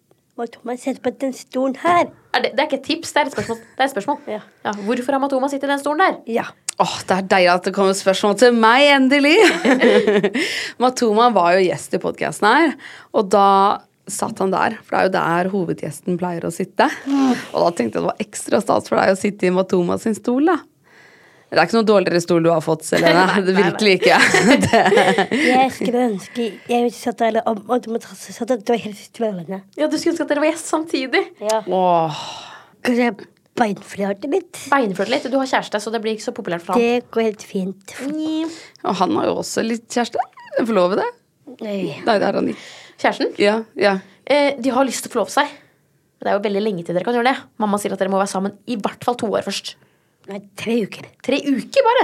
Speaker 1: hva Thomas sitter på den stolen her.
Speaker 2: Er det, det er ikke et tips, det er et spørsmål. Det er et spørsmål.
Speaker 1: Ja.
Speaker 2: hvorfor har Matoma sittet i den stolen der?
Speaker 1: Ja.
Speaker 3: Åh, Det er deilig at det kommer spørsmål til meg, endelig! Matoma var jo gjest i podkasten her, og da satt han der. For det er jo der hovedgjesten pleier å sitte. Og da tenkte jeg det var ekstra stas for deg å sitte i Matoma sin stol, da. Det er ikke noe dårligere stol du har fått, Selene. Det er Virkelig ikke. Det.
Speaker 1: Jeg skulle ønske jeg satt der og, og du må ta satt der. Det var helt strålende.
Speaker 2: Ja, Du skulle ønske at dere var gjest samtidig.
Speaker 3: Åh,
Speaker 1: Kanskje jeg beinflørte litt.
Speaker 2: Beinflørte litt. Du har kjæreste, så det blir ikke så populært for ham.
Speaker 1: Det går helt fint.
Speaker 3: Og han har jo også litt kjæreste. Forlovede.
Speaker 1: Nei.
Speaker 3: Nei, det har han ikke.
Speaker 2: Kjæresten?
Speaker 3: Ja, ja.
Speaker 2: Eh, de har lyst til å forlove seg. Men det er jo veldig lenge til dere kan gjøre det. Mamma sier at dere må være sammen i hvert fall to år først.
Speaker 1: Nei, tre uker.
Speaker 2: Tre uker bare!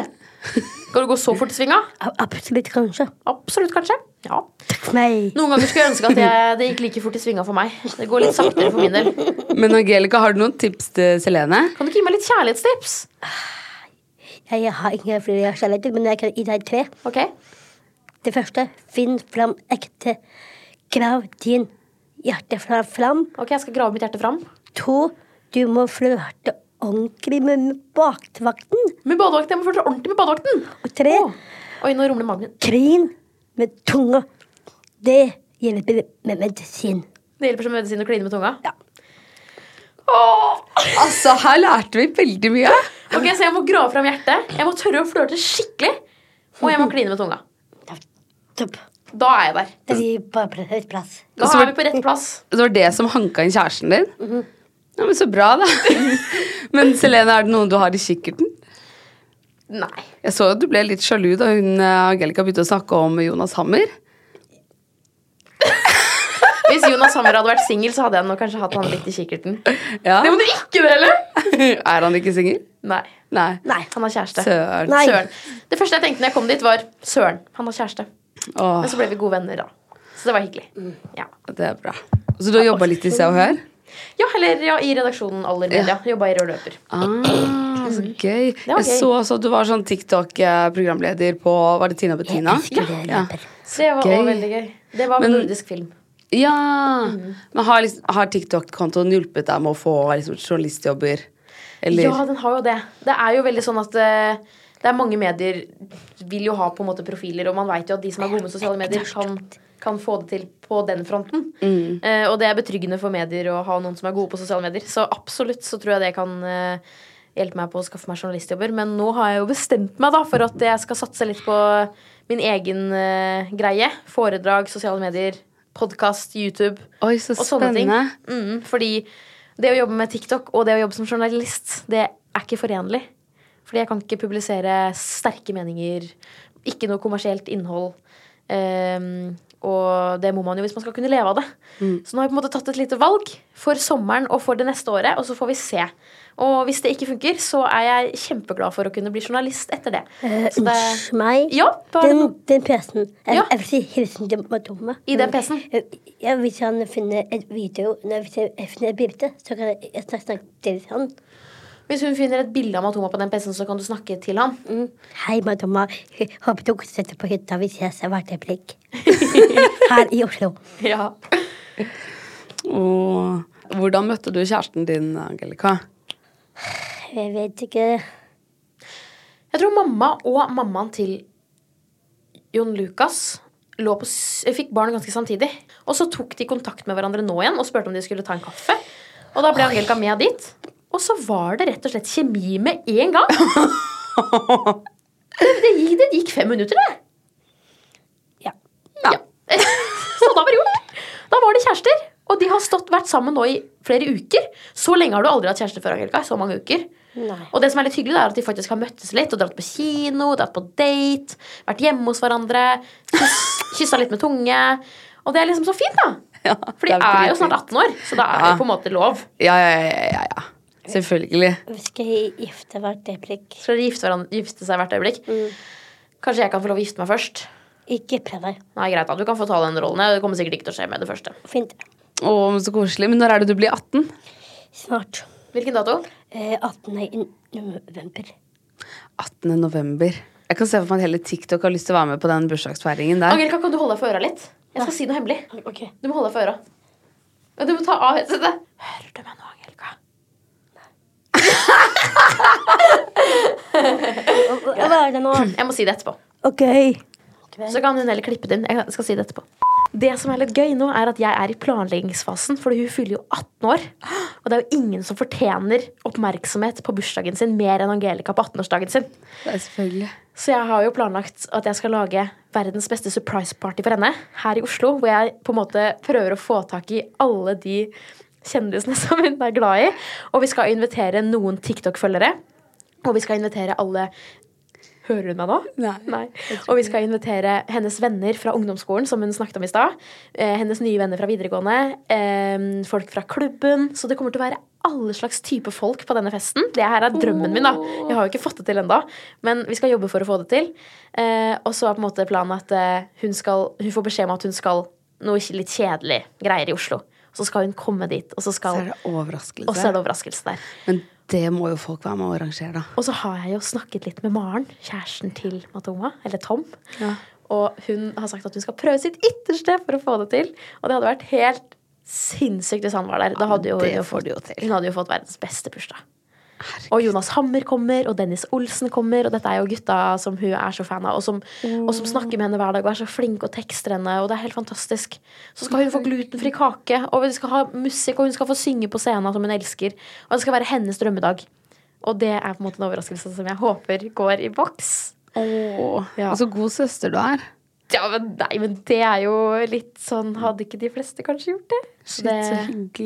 Speaker 2: Skal du gå så fort i svinga?
Speaker 1: A- Absolutt, kanskje.
Speaker 2: Absolutt, kanskje. Ja.
Speaker 1: Takk for meg.
Speaker 2: Noen ganger skulle jeg ønske at jeg, det gikk like fort i svinga for meg. Det går litt saktere for min del. Kan
Speaker 3: Men Angelica, har du noen tips til Selene?
Speaker 2: du ikke gi meg litt kjærlighetstips?
Speaker 1: Jeg, jeg har ikke flere kjærligheter, men jeg kan gi deg tre.
Speaker 2: Ok?
Speaker 1: Det første, finn fram ekte. Grav din hjerte fra fram.
Speaker 2: Ok, Jeg skal grave mitt hjerte fram.
Speaker 1: To, du må flørte ordentlig med med bakvakten.
Speaker 2: Med badevakten, Jeg må følge ordentlig med badevakten!
Speaker 1: Og tre,
Speaker 2: Å. Oi, nå rumler magen min.
Speaker 1: klin med tunga. Det hjelper med medisin.
Speaker 2: Det hjelper som medisin å kline med tunga.
Speaker 1: Ja.
Speaker 3: Altså, her lærte vi veldig mye.
Speaker 2: Ok, Så jeg må grave fram hjertet, jeg må tørre å flørte skikkelig, og jeg må kline med tunga.
Speaker 1: Topp.
Speaker 2: Da er jeg der.
Speaker 1: Det gir bare høyt plass.
Speaker 2: Da
Speaker 3: Så
Speaker 2: er
Speaker 3: var-
Speaker 2: vi på rett plass.
Speaker 3: Det var det som hanka inn kjæresten din? Ja, men Så bra, da. men Selene, er det noen du har i kikkerten?
Speaker 2: Nei.
Speaker 3: Jeg så at du ble litt sjalu da hun eh, Angelica begynte å snakke om Jonas Hammer.
Speaker 2: Hvis Jonas Hammer hadde vært singel, så hadde jeg nok kanskje hatt han litt i kikkerten.
Speaker 3: Ja.
Speaker 2: Det må du ikke dele!
Speaker 3: er han ikke singel?
Speaker 2: Nei.
Speaker 3: Nei.
Speaker 2: Nei, han har kjæreste.
Speaker 3: Søren.
Speaker 1: Nei.
Speaker 2: Søren. Det første jeg tenkte når jeg kom dit, var Søren, han har kjæreste.
Speaker 3: Åh,
Speaker 2: Men så ble vi gode venner, da. Så det var hyggelig. Ja,
Speaker 3: det er bra. Så du har jobba litt i Se og Hør?
Speaker 2: ja eller ja, i redaksjonen Aller Media. Jobba i Rød Løper.
Speaker 3: Ah, så gøy.
Speaker 2: var
Speaker 3: Jeg
Speaker 2: gøy.
Speaker 3: så også at du var sånn TikTok-programleder på Var det Tina Bettina?
Speaker 1: Jeg elsker det.
Speaker 3: Ja.
Speaker 2: Så det var
Speaker 3: Gøy.
Speaker 2: også veldig gøy. Det var
Speaker 3: Men-
Speaker 2: nordisk film.
Speaker 3: Ja! Men har, liksom, har TikTok-kontoen hjulpet deg med å få liksom, journalistjobber? Eller?
Speaker 2: Ja, den har jo det. Det er jo veldig sånn at eh, det er mange medier vil jo ha på en måte profiler, og man veit jo at de som er gode med sosiale medier, kan, kan få det til på den fronten. Eh, og det er betryggende for medier å ha noen som er gode på sosiale medier. Så absolutt så tror jeg det kan eh, hjelpe meg på å skaffe meg journalistjobber. Men nå har jeg jo bestemt meg da for at jeg skal satse litt på min egen eh, greie. Foredrag, sosiale medier, podkast, YouTube
Speaker 3: Oi, så
Speaker 2: og sånne ting.
Speaker 3: spennende.
Speaker 2: Mm, fordi det å jobbe med TikTok og det å jobbe som journalist, det er ikke forenlig. Fordi jeg kan ikke publisere sterke meninger, ikke noe kommersielt innhold. Ehm, og det må man jo hvis man skal kunne leve av det.
Speaker 1: Mm.
Speaker 2: Så nå har jeg på en måte tatt et lite valg for sommeren og for det neste året, og så får vi se. Og hvis det ikke funker, så er jeg kjempeglad for å kunne bli journalist etter det. Så det
Speaker 1: Eh, Unnskyld meg.
Speaker 2: Ja, hva er det
Speaker 1: den,
Speaker 2: nå?
Speaker 1: den PC-en. Jeg,
Speaker 2: Ja.
Speaker 1: jeg vil si hilsen til Madonna.
Speaker 2: I den PC-en?
Speaker 1: Ja, hvis han finner et video Nei, hvis jeg jeg finner et bilde, så kan jeg jeg snakke, snakke til han.
Speaker 2: Hvis hun finner et bilde av Matoma på den PC-en, så kan du snakke til ham.
Speaker 1: Hei, Madonna. Håper du koser deg på hytta. Vi ses hvert øyeblikk. Her i Oslo.
Speaker 2: Ja.
Speaker 3: Åh. Hvordan møtte du kjæresten din, Angelica?
Speaker 1: Jeg vet ikke.
Speaker 2: Jeg tror mamma og mammaen til Jon Lucas lå på, s- fikk barn ganske samtidig. Og så tok de kontakt med hverandre nå igjen og spurte om de skulle ta en kaffe. Og da ble Angelica med dit. Og så var det rett og slett kjemi med en gang. Det, det, gikk, det gikk fem minutter, det.
Speaker 1: Ja.
Speaker 2: Ja. så da var det gjort. Da var de kjærester. Og de har stått, vært sammen nå i flere uker. Så lenge har du aldri hatt kjæreste før, Angelica. Så mange uker.
Speaker 1: Nei.
Speaker 2: Og det som er litt hyggelig, det er at de faktisk har møttes litt og dratt på kino, dratt på date, vært hjemme hos hverandre, kyss- kyssa litt med tunge. Og det er liksom så fint, da.
Speaker 3: Ja,
Speaker 2: For de
Speaker 3: det er
Speaker 2: er jo
Speaker 3: dritfint.
Speaker 2: snart 18 år, så da er det jo på en måte lov.
Speaker 3: Ja, ja, ja, ja, ja. Selvfølgelig.
Speaker 1: Vi skal gifte hvert øyeblikk.
Speaker 2: Skal de gifte, hverandre- gifte seg hvert øyeblikk?
Speaker 3: Mm.
Speaker 2: Kanskje jeg kan få lov å gifte meg først?
Speaker 1: Ikke prøv deg.
Speaker 2: Nei, greit da, Du kan få ta den rollen. Det kommer sikkert ikke til å skje med det første.
Speaker 1: Fint.
Speaker 3: Å, men så koselig. Men når er det du blir 18?
Speaker 1: Snart.
Speaker 2: Hvilken dato?
Speaker 1: Eh, 18. i november.
Speaker 3: 18. november. Jeg kan se for meg at hele TikTok har lyst til å være med på den bursdagsfeiringen der.
Speaker 2: Angelica, kan du holde deg for øra litt? Jeg skal si noe hemmelig.
Speaker 1: Ok.
Speaker 2: Du må holde deg for øra. Ja, Du må ta av headsetet. Hører du meg nå, Angelica?
Speaker 1: Hva er det nå?
Speaker 2: Jeg må si det etterpå.
Speaker 1: Ok.
Speaker 2: Så kan hun heller klippe det inn. Jeg skal si det etterpå. Det som er litt gøy nå, er at jeg er i planleggingsfasen, fordi hun fyller jo 18 år. Og det er jo ingen som fortjener oppmerksomhet på bursdagen sin mer enn Angelica på 18-årsdagen sin.
Speaker 3: Det er selvfølgelig.
Speaker 2: Så jeg har jo planlagt at jeg skal lage verdens beste surprise party for henne her i Oslo. Hvor jeg på en måte prøver å få tak i alle de kjendisene som hun er glad i. Og vi skal invitere noen TikTok-følgere. Og vi skal invitere alle Hører hun meg nå?
Speaker 3: Nei.
Speaker 2: Og vi skal invitere hennes venner fra ungdomsskolen, som hun snakket om i stad. Eh, hennes nye venner fra videregående. Eh, folk fra klubben. Så det kommer til å være alle slags type folk på denne festen. Det her er drømmen min, da. Jeg har jo ikke fått det til ennå, men vi skal jobbe for å få det til. Eh, og så er på en måte planen at eh, hun, skal, hun får beskjed om at hun skal noe ikke- litt kjedelig greier i Oslo. Så skal hun komme dit, og så
Speaker 3: Så
Speaker 2: skal
Speaker 3: er det overraskelse.
Speaker 2: og så er det overraskelse der.
Speaker 3: Men det må jo folk være med å arrangere, da.
Speaker 2: Og så har jeg jo snakket litt med Maren, kjæresten til Matoma, eller Tom. Og hun har sagt at hun skal prøve sitt ytterste for å få det til. Og det hadde vært helt sinnssykt hvis han var der. Da hadde jo,
Speaker 3: det
Speaker 2: hun jo
Speaker 3: får
Speaker 2: fått-
Speaker 3: du jo til.
Speaker 2: Hun hadde jo fått verdens beste bursdag. Og Jonas Hammer kommer, og Dennis Olsen kommer. Og dette er jo gutta som hun er så fan av, og som, og
Speaker 3: Mm.
Speaker 2: som snakker med henne hver dag og er så flinke og tekster henne. Og det er helt fantastisk. Så skal hun få glutenfri kake, og vi skal ha musikk, og hun skal få synge på scenen som hun elsker. Og det skal være hennes drømmedag. Og det er på en måte en overraskelse som jeg håper går i boks.
Speaker 3: Åh,
Speaker 2: Ja.
Speaker 3: Og så Altså, god søster du er.
Speaker 2: Ja, men nei, men det er jo litt sånn Hadde ikke de fleste kanskje gjort det? Så det,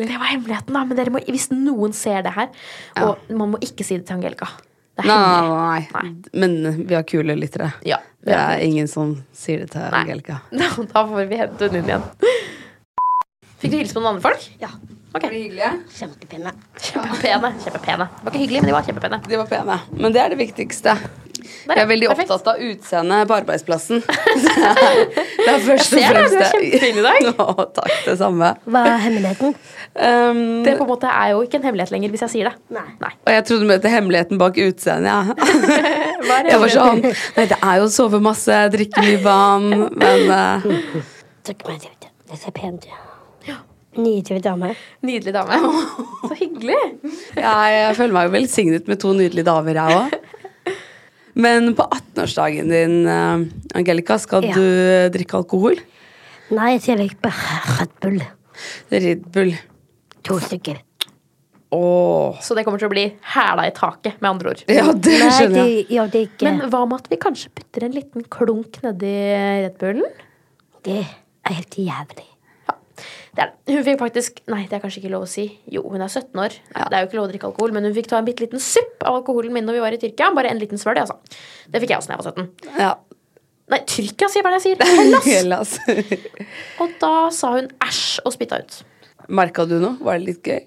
Speaker 2: det var hemmeligheten, da. Men dere må, hvis noen ser det her Og man må ikke si det til Angelica. Det er
Speaker 3: Nei,
Speaker 2: hemmelig.
Speaker 3: nei, nei. Men vi har kule lyttere.
Speaker 2: Ja,
Speaker 3: Det er ingen som sier det til
Speaker 2: Nei.
Speaker 3: Angelica.
Speaker 2: Da, da får vi hente henne inn igjen. Fikk du hilse på noen andre folk? Ja. Ok,
Speaker 1: Kjempepinne.
Speaker 2: Kjempepene. kjempepene Det var ikke hyggelig, men de var kjempepene.
Speaker 3: De var pene. Men det er det viktigste.
Speaker 2: Der,
Speaker 3: Jeg er veldig
Speaker 2: perfekt.
Speaker 3: opptatt av utseendet på arbeidsplassen. det er først og
Speaker 2: Jeg ser det,
Speaker 3: fremst
Speaker 2: du er kjempefin i dag.
Speaker 3: Å, takk, det samme.
Speaker 1: Hva er hemmeligheten?
Speaker 3: Um,
Speaker 2: Det på en måte er jo ikke en hemmelighet lenger hvis jeg sier det.
Speaker 1: Nei.
Speaker 3: og jeg trodde du mente hemmeligheten bak utseendet, ja.
Speaker 2: Hva er
Speaker 3: Jeg var sånn
Speaker 2: hemmeligheten?
Speaker 3: Nei, det er jo å sove masse, drikke mye vann, men eh,
Speaker 1: Takk meg til det. Det ser pent ut. Nydelig dame.
Speaker 2: Nydelig dame. Så hyggelig.
Speaker 3: jeg, jeg føler meg jo velsignet med to nydelige damer, jeg òg. Men på 18-årsdagen din, eh, Angelica, skal
Speaker 1: Ja.
Speaker 3: du drikke alkohol?
Speaker 1: Nei, jeg ser ikke på Red Bull.
Speaker 3: Red Bull.
Speaker 1: To stykker.
Speaker 3: Åh.
Speaker 2: Så det kommer til å bli hæla i taket, med andre ord.
Speaker 3: Ja, det
Speaker 1: Nei,
Speaker 3: skjønner
Speaker 1: det
Speaker 3: jeg.
Speaker 1: gjør det ikke.
Speaker 2: Men hva med at vi kanskje putter en liten klunk nedi Red Bullen?
Speaker 1: det er helt jævlig.
Speaker 2: Ja, Det er det. Hun fikk faktisk Nei, det er kanskje ikke lov å si. Jo, hun er 17 år. Det er jo ikke lov å drikke alkohol, men hun fikk ta en bitte liten supp av alkoholen min når vi var i Tyrkia. Bare en liten svølg, altså. Det fikk jeg også da jeg var 17.
Speaker 3: Ja.
Speaker 2: Nei, Tyrkia, sier jeg hva er det jeg sier. Hellas!
Speaker 3: Hellas.
Speaker 2: Og da sa hun æsj og spytta ut.
Speaker 3: Merka du noe? Var det litt gøy?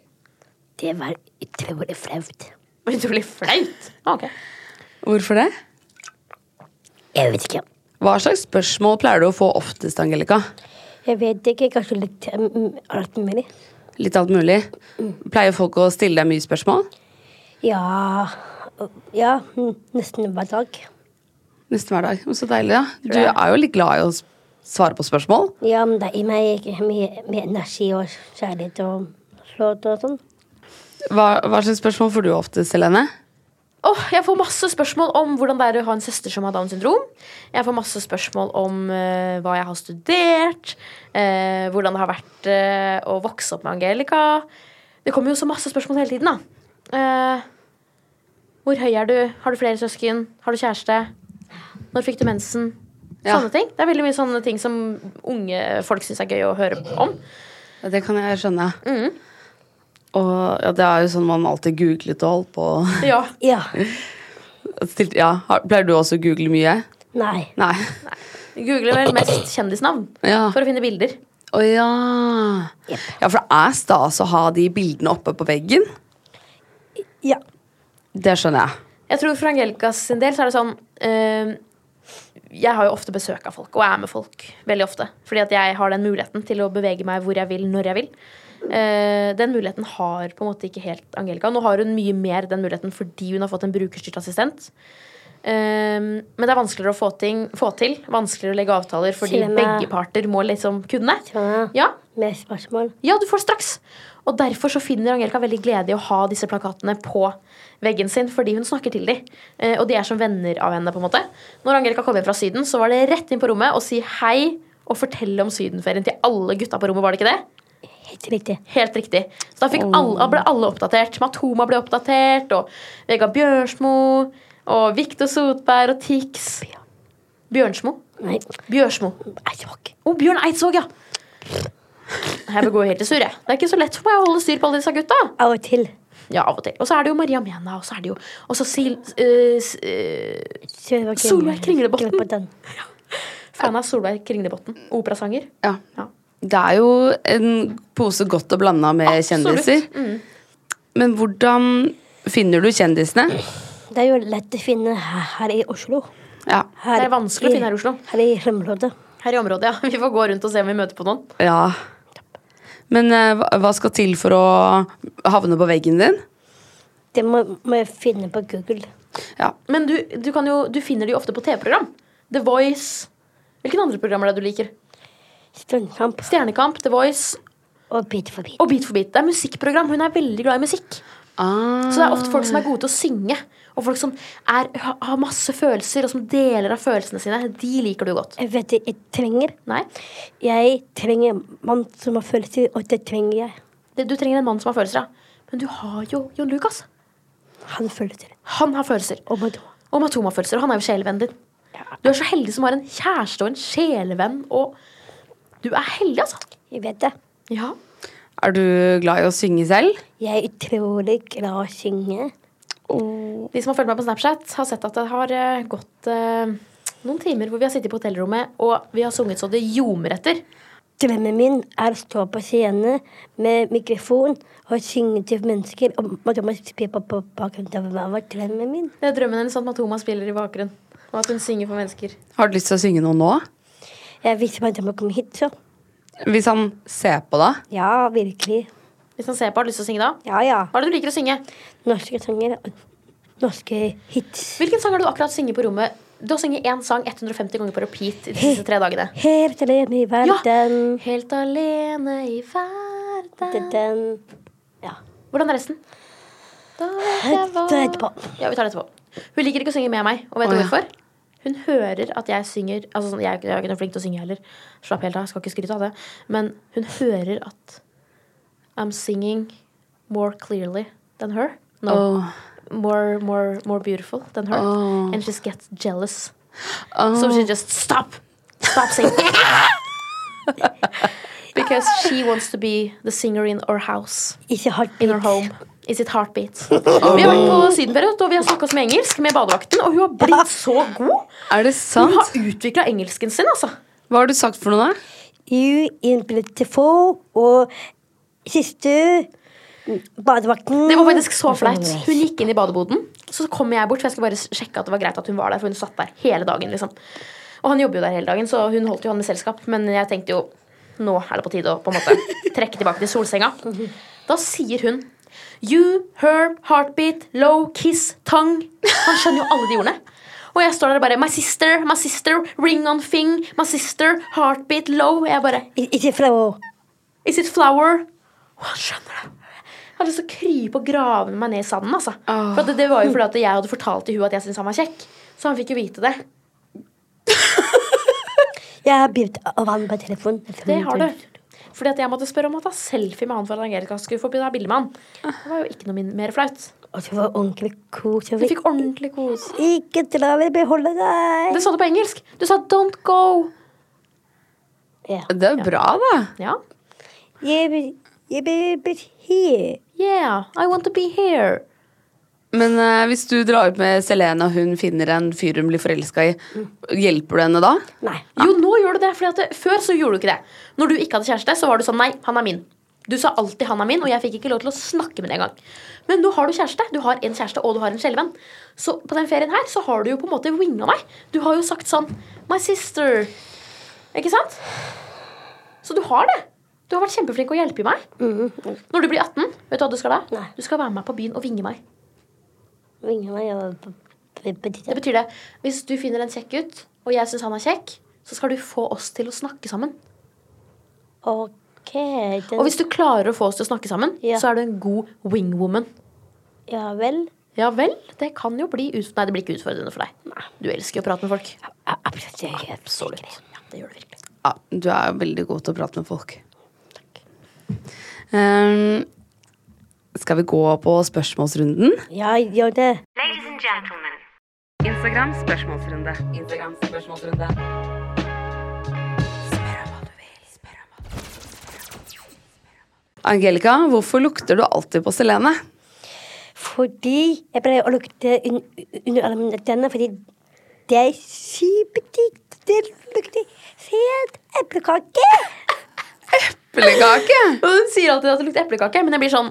Speaker 1: Det var utrolig flaut.
Speaker 2: Utrolig flaut. Ah, ok.
Speaker 3: Hvorfor det?
Speaker 1: Jeg vet ikke.
Speaker 3: Hva slags spørsmål pleier du å få oftest, Angelica?
Speaker 1: Jeg vet ikke. Kanskje litt um, alt mulig.
Speaker 3: Litt alt mulig. Pleier folk å stille deg mye spørsmål?
Speaker 1: Ja Ja, mm, nesten hver dag.
Speaker 3: Nesten hver dag. Så deilig, da. Du er jo litt glad i å s- svare på spørsmål.
Speaker 1: Ja, men det gir meg mye, mye energi og kjærlighet og slått og sånn.
Speaker 3: Hva, hva slags spørsmål får du oftest, Helene?
Speaker 2: Åh, jeg får masse spørsmål om hvordan det er å ha en søster som har Downs syndrom. Jeg får masse spørsmål om eh, hva jeg har studert, eh, hvordan det har vært eh, å vokse opp med Angelica. Det kommer jo så masse spørsmål hele tiden, da. Eh, hvor høy er du? Har du flere søsken? Har du kjæreste? Når fikk du mensen?
Speaker 3: Ja.
Speaker 2: Sånne ting. Det er veldig mye sånne ting som unge folk syns er gøy å høre om.
Speaker 3: Ja, Det kan jeg skjønne. Og ja, det er jo sånn man alltid googlet og holdt på.
Speaker 2: Ja.
Speaker 1: Ja.
Speaker 3: Stilt, ja. har- Pleier du også å google mye?
Speaker 1: Nei.
Speaker 3: Nei.
Speaker 2: Google vel mest kjendisnavn
Speaker 3: Ja.
Speaker 2: for å finne bilder.
Speaker 3: Å ja. Ja, for det er stas å ha de bildene oppe på veggen.
Speaker 1: Ja.
Speaker 3: Det skjønner jeg.
Speaker 2: Jeg tror for Angelicas sin del så er det sånn eh, Jeg har jo ofte besøk av folk og er med folk veldig ofte. Fordi at jeg har den muligheten til å bevege meg hvor jeg vil, når jeg vil. Eh, den muligheten har på en måte ikke helt Angelica. Nå har hun mye mer den muligheten fordi hun har fått en brukerstyrt assistent. Eh, men det er vanskeligere å få, ting, få til. Vanskeligere å legge avtaler fordi
Speaker 1: Til og med-
Speaker 2: begge parter må liksom kunne.
Speaker 1: Til og med-
Speaker 2: Ja,
Speaker 1: Med spørsmål.
Speaker 2: ja, du får det straks. Og derfor så finner Angelica veldig glede i å ha disse plakatene på veggen sin, fordi hun snakker til dem. Eh, og de er som venner av henne, på en måte. Når Angelica kom hjem fra Syden, så var det rett inn på rommet og si hei og fortelle om sydenferien til alle gutta på rommet, var det ikke det?
Speaker 1: Helt riktig.
Speaker 2: Helt riktig. Så da fikk alle, da ble alle oppdatert. Matoma ble oppdatert, og Vegard Bjørsmo, og Viktor Sotberg og Tix. Bjørnsmo?
Speaker 1: Nei.
Speaker 2: Bjørsmo.
Speaker 1: Eidsvåg.
Speaker 2: Å, Bjørn Eidsvåg, ja! Jeg bør gå helt i surr, jeg. Det er ikke så lett for meg å holde styr på alle disse gutta.
Speaker 1: Av og til.
Speaker 2: Ja, av og til. Og så er det jo Maria Mena, og så er det jo Og så Sil... eh, s- eh,
Speaker 1: Solveig
Speaker 2: Solveig Kringlebotn.
Speaker 1: Kringlebotn.
Speaker 2: fan av Solveig Kringlebotn. Operasanger.
Speaker 3: Ja.
Speaker 2: Ja.
Speaker 3: Det er jo en pose godt og blanda med
Speaker 2: Absolutt.
Speaker 3: kjendiser. Men hvordan finner du kjendisene?
Speaker 1: Det er jo lett å finne her, her i Oslo.
Speaker 3: Ja.
Speaker 1: Her
Speaker 2: Det er vanskelig å finne her i Oslo.
Speaker 1: Her i Remlådet.
Speaker 2: Her i området, ja. Vi får gå rundt og se om vi møter på noen.
Speaker 3: ja. Men eh, hva- hva skal til for å havne på veggen din?
Speaker 1: Det må, må jeg finne på Google.
Speaker 3: Ja.
Speaker 2: Men du, du, kan jo, du finner de jo ofte på TV-program. The Voice. Hvilke andre programmer er det du liker?
Speaker 1: Strømkamp
Speaker 2: Stjernekamp, The Voice
Speaker 1: og Bit for bit.
Speaker 2: og Beat for beat. Det er musikkprogram. Hun er veldig glad i musikk.
Speaker 3: Ah.
Speaker 2: Så det er ofte folk som er gode til å synge, og folk som er, ha- har masse følelser, og som deler av følelsene sine. De liker du godt.
Speaker 1: Jeg vet det jeg trenger.
Speaker 2: Nei,
Speaker 1: Jeg trenger en mann som har følelser, og det trenger jeg.
Speaker 2: det, du trenger en mann som har følelser, ja. Men du har jo Jon Lucas.
Speaker 1: Han har følelser.
Speaker 2: Han har følelser.
Speaker 1: Og Madonna.
Speaker 2: Og Matoma har følelser, og han er jo sjelevennen din. Du er så heldig som har en kjæreste og en sjelevenn, og du er heldig, altså.
Speaker 1: Jeg vet det.
Speaker 2: Ja.
Speaker 3: Er du glad i å synge selv?
Speaker 1: Jeg er utrolig glad i å synge.
Speaker 2: De som har fulgt meg på Snapchat, har sett at det har eh, gått eh, noen timer hvor vi har sittet på hotellrommet, og vi har sunget så det ljomer etter.
Speaker 1: Drømmen min er å stå på scene med mikrofon og synge til mennesker. Og Madonna spiller på, på bakgrunnen. Det var drømmen min.
Speaker 2: Det er drømmen hennes at Matoma spiller i bakgrunnen, og at hun synger for mennesker.
Speaker 3: Har du lyst til å synge noe nå?
Speaker 1: Jeg visste Madonna kom hit, så.
Speaker 3: Hvis han ser på deg?
Speaker 1: Ja, virkelig.
Speaker 2: Hvis han ser på, har du lyst til å synge da?
Speaker 1: Ja, ja.
Speaker 2: Hva er det du liker å synge?
Speaker 1: Norske sanger og norske hits.
Speaker 2: Hvilken sang har du akkurat sunget på rommet? Du har sunget én sang 150 ganger på repeat de siste tre dagene.
Speaker 1: Helt alene i
Speaker 2: Ja!
Speaker 1: verden.
Speaker 2: Helt alene i verden.
Speaker 1: Den, den. Ja.
Speaker 2: Hvordan er resten? Da vet jeg
Speaker 1: Ta
Speaker 2: hva
Speaker 1: det etterpå.
Speaker 2: Ja, vi tar det etterpå. Hun liker ikke å synge med meg, og vet du
Speaker 3: Å, ja.
Speaker 2: hvorfor? Hun hører at jeg synger Altså, sånn, jeg, er ikke- jeg er ikke noe flink til å synge heller. Slapp helt av, skal ikke skryte av det. Men hun hører at I'm singing more clearly than her. No.
Speaker 3: Åh.
Speaker 2: More, more, more beautiful than her.
Speaker 3: Åh.
Speaker 2: And she gets jealous.
Speaker 3: Åh.
Speaker 2: So she just stop! Stop singing. because she wants to be the singer in our house.
Speaker 1: Ikke hardt
Speaker 2: In our home. Is it heartbeat? Vi har vært på sydenperiode, og vi har snakka med engelsk med badevakten, og hun har blitt så god.
Speaker 3: Er det
Speaker 2: Hun har
Speaker 3: sant?
Speaker 2: utvikla engelsken sin, altså.
Speaker 3: Hva har du sagt for noe, da?
Speaker 1: You in beautiful og siste badevakten
Speaker 2: Det var faktisk så flaut. Hun gikk inn i badeboden, så kom jeg bort, for jeg skulle bare sjekke at det var greit at hun var der, for hun satt der hele dagen, liksom. Og han jobber jo der hele dagen, så hun holdt jo han med selskap, men jeg tenkte jo nå er det på tide å på en måte trekke tilbake til solsenga. Da sier hun You, her, heartbeat, low, kiss, tongue. Han skjønner jo alle de ordene. Og jeg står der og bare My sister, my sister, ring on thing, my sister, heartbeat, low. Og jeg bare
Speaker 1: Ikke fra å
Speaker 2: Is it flower? Og han skjønner det. Jeg hadde lyst til å krype og grave meg ned i sanden. altså. For at det, det var jo fordi at jeg hadde fortalt til hun at jeg syntes han var kjekk. Så han fikk jo vite det.
Speaker 1: Jeg har begynt av han på telefonen.
Speaker 2: Det har du. Fordi at jeg måtte spørre om å ta selfie med han for at Angelica skulle få ta bilde med han. Det var jo ikke noe min- mer flaut.
Speaker 1: Og så var ordentlig kos. og
Speaker 2: Du
Speaker 1: vi-
Speaker 2: fikk ordentlig kos.
Speaker 1: Ikke dra, vi beholder deg.
Speaker 2: Det sa du på engelsk. Du sa 'don't go'.
Speaker 3: Det er jo bra, da.
Speaker 2: Ja.
Speaker 1: Jeg vil- jeg vil bli her.
Speaker 2: Yeah, I want to be here.
Speaker 3: Men eh, hvis du drar ut med Selena, og hun finner en fyr hun blir forelska i, hjelper du henne da?
Speaker 1: Nei.
Speaker 2: Jo, nå gjør du det, fordi at det, før så gjorde du ikke det. Når du ikke hadde kjæreste, så var du sånn Nei, han er min. Du sa alltid 'han er min', og jeg fikk ikke lov til å snakke med deg engang. Men nå har du kjæreste. Du har en kjæreste, og du har en skjelven. Så på den ferien her så har du jo på en måte winga meg. Du har jo sagt sånn 'My sister'. Ikke sant? Så du har det. Du har vært kjempeflink å hjelpe meg.
Speaker 1: Mm-hmm.
Speaker 2: Når du blir 18, vet du hva du skal da?
Speaker 1: Nei.
Speaker 2: Du skal være med meg på byen og vinge meg.
Speaker 1: Ringer meg og b- b- betyr
Speaker 2: Det
Speaker 1: det.
Speaker 2: betyr det. Hvis du finner en kjekk gutt, og jeg syns han er kjekk, så skal du få oss til å snakke sammen.
Speaker 1: OK. Den,
Speaker 2: Og hvis du klarer å få oss til å snakke sammen,
Speaker 1: Ja.
Speaker 2: så er du en god wingwoman.
Speaker 1: Ja vel.
Speaker 2: Ja vel, det kan jo bli ut... Nei, det blir ikke utfordrende for deg. Du elsker jo å prate med folk.
Speaker 1: Ja, Absolutt. jeg er helt sikker.
Speaker 2: Ja, det gjør du virkelig.
Speaker 3: Ja, du er jo veldig god til å prate med folk. Ehm, skal vi gå på spørsmålsrunden?
Speaker 1: Ja, gjør det.
Speaker 6: Ladies and gentlemen. Instagram spørsmålsrunde. Instagram spørsmålsrunde.
Speaker 3: Angelica, hvorfor lukter du alltid på Selene?
Speaker 1: Fordi jeg pleier å lukte un under alle mine tenner, fordi det er superdigg. Det lukter fet eplekake.
Speaker 3: Eplekake!
Speaker 2: Og Hun sier alltid at det lukter eplekake, men jeg blir sånn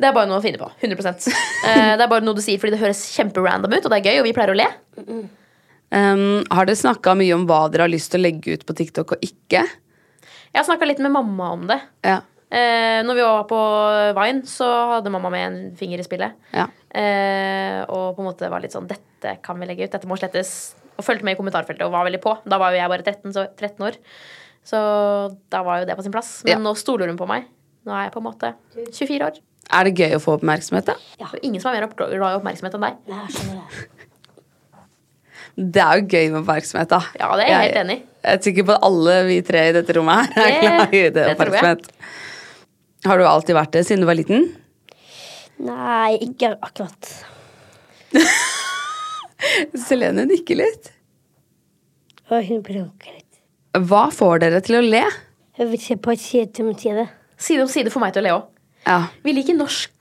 Speaker 2: Det er bare noe å finne på. 100 Eh, Det er bare noe du sier fordi det høres kjemperandom ut, og det er gøy, og vi pleier å le.
Speaker 3: Ehm, har dere snakka mye om hva dere har lyst til å legge ut på TikTok og ikke?
Speaker 2: Jeg har snakka litt med mamma om det.
Speaker 3: Ja.
Speaker 2: Eh, når vi var på Vine, så hadde mamma med en finger i spillet.
Speaker 3: ja.
Speaker 2: Eh, og på en måte var litt sånn Dette kan vi legge ut, dette må slettes. Og fulgte med i kommentarfeltet og var veldig på. Da var jo jeg bare 13, så, 13 år. Så da var jo det på sin plass. Men
Speaker 3: Ja.
Speaker 2: nå stoler hun på meg. Nå er jeg på en måte 24 år.
Speaker 3: Er det gøy å få oppmerksomhet, da?
Speaker 2: Og ingen som er mer opp- glad i oppmerksomhet enn deg.
Speaker 1: Nei, jeg skjønner det.
Speaker 3: Det er jo gøy med oppmerksomhet, da.
Speaker 2: Ja, det er jeg helt enig i.
Speaker 3: Jeg er sikker på at alle vi tre i dette rommet her er
Speaker 2: Det-
Speaker 3: glad i det
Speaker 2: det tror jeg.
Speaker 3: oppmerksomhet. Har du alltid vært det siden du var liten?
Speaker 1: Nei, ikke akkurat.
Speaker 3: Selene nikker litt.
Speaker 1: Og hun blunker litt.
Speaker 3: Hva får dere til å le?
Speaker 1: Jeg vil se på et side om side.
Speaker 2: Side om side for meg til å le òg.
Speaker 3: Ja.
Speaker 2: Vi liker norsk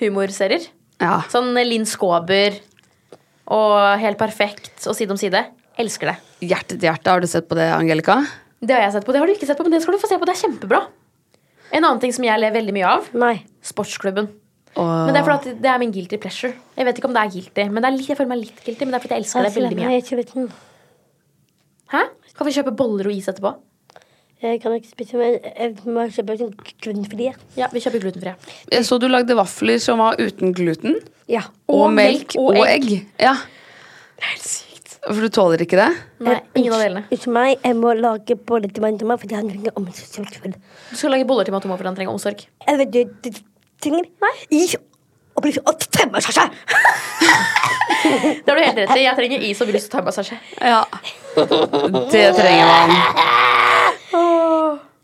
Speaker 2: humorserier.
Speaker 3: ja.
Speaker 2: Sånn Linn Skåber og Helt perfekt og Side om side. Elsker det.
Speaker 3: Hjerte til hjerte, har du sett på det, Angelica?
Speaker 2: Det har jeg sett på. Det har du ikke sett på, men det skal du få se på. Det er kjempebra. En annen ting som jeg ler veldig mye av,
Speaker 1: Nei.
Speaker 2: sportsklubben.
Speaker 3: Og-
Speaker 2: Men det er fordi at det er min guilty pleasure. Jeg vet ikke om det er guilty, men det er litt, jeg føler meg litt guilty, men det er fordi jeg elsker det veldig mye.
Speaker 1: altså, Jeg, ikke vet den.
Speaker 2: Hæ? Kan vi kjøpe boller og is etterpå?
Speaker 1: jeg kan ikke spise, men jeg må kjøpe sånn grunnfrie.
Speaker 2: Ja, vi kjøper glutenfrie.
Speaker 3: Jeg så du lagde vafler som var uten gluten.
Speaker 1: Ja.
Speaker 3: Og,
Speaker 2: Og
Speaker 3: melk og, egg. Ja. For du tåler ikke det?
Speaker 2: Nei, ingen av delene.
Speaker 1: Unnskyld meg, jeg må lage boller til mannen til meg, fordi han trenger omsorgsfull.
Speaker 2: Du skal lage boller til Matomo fordi han trenger omsorg.
Speaker 1: Jeg vet Eh, du, du trenger Nei. is og brus og tømmersasse.
Speaker 2: Det har du helt rett i. Jeg trenger is og brus og thaimassasje.
Speaker 3: Ja. Det trenger man.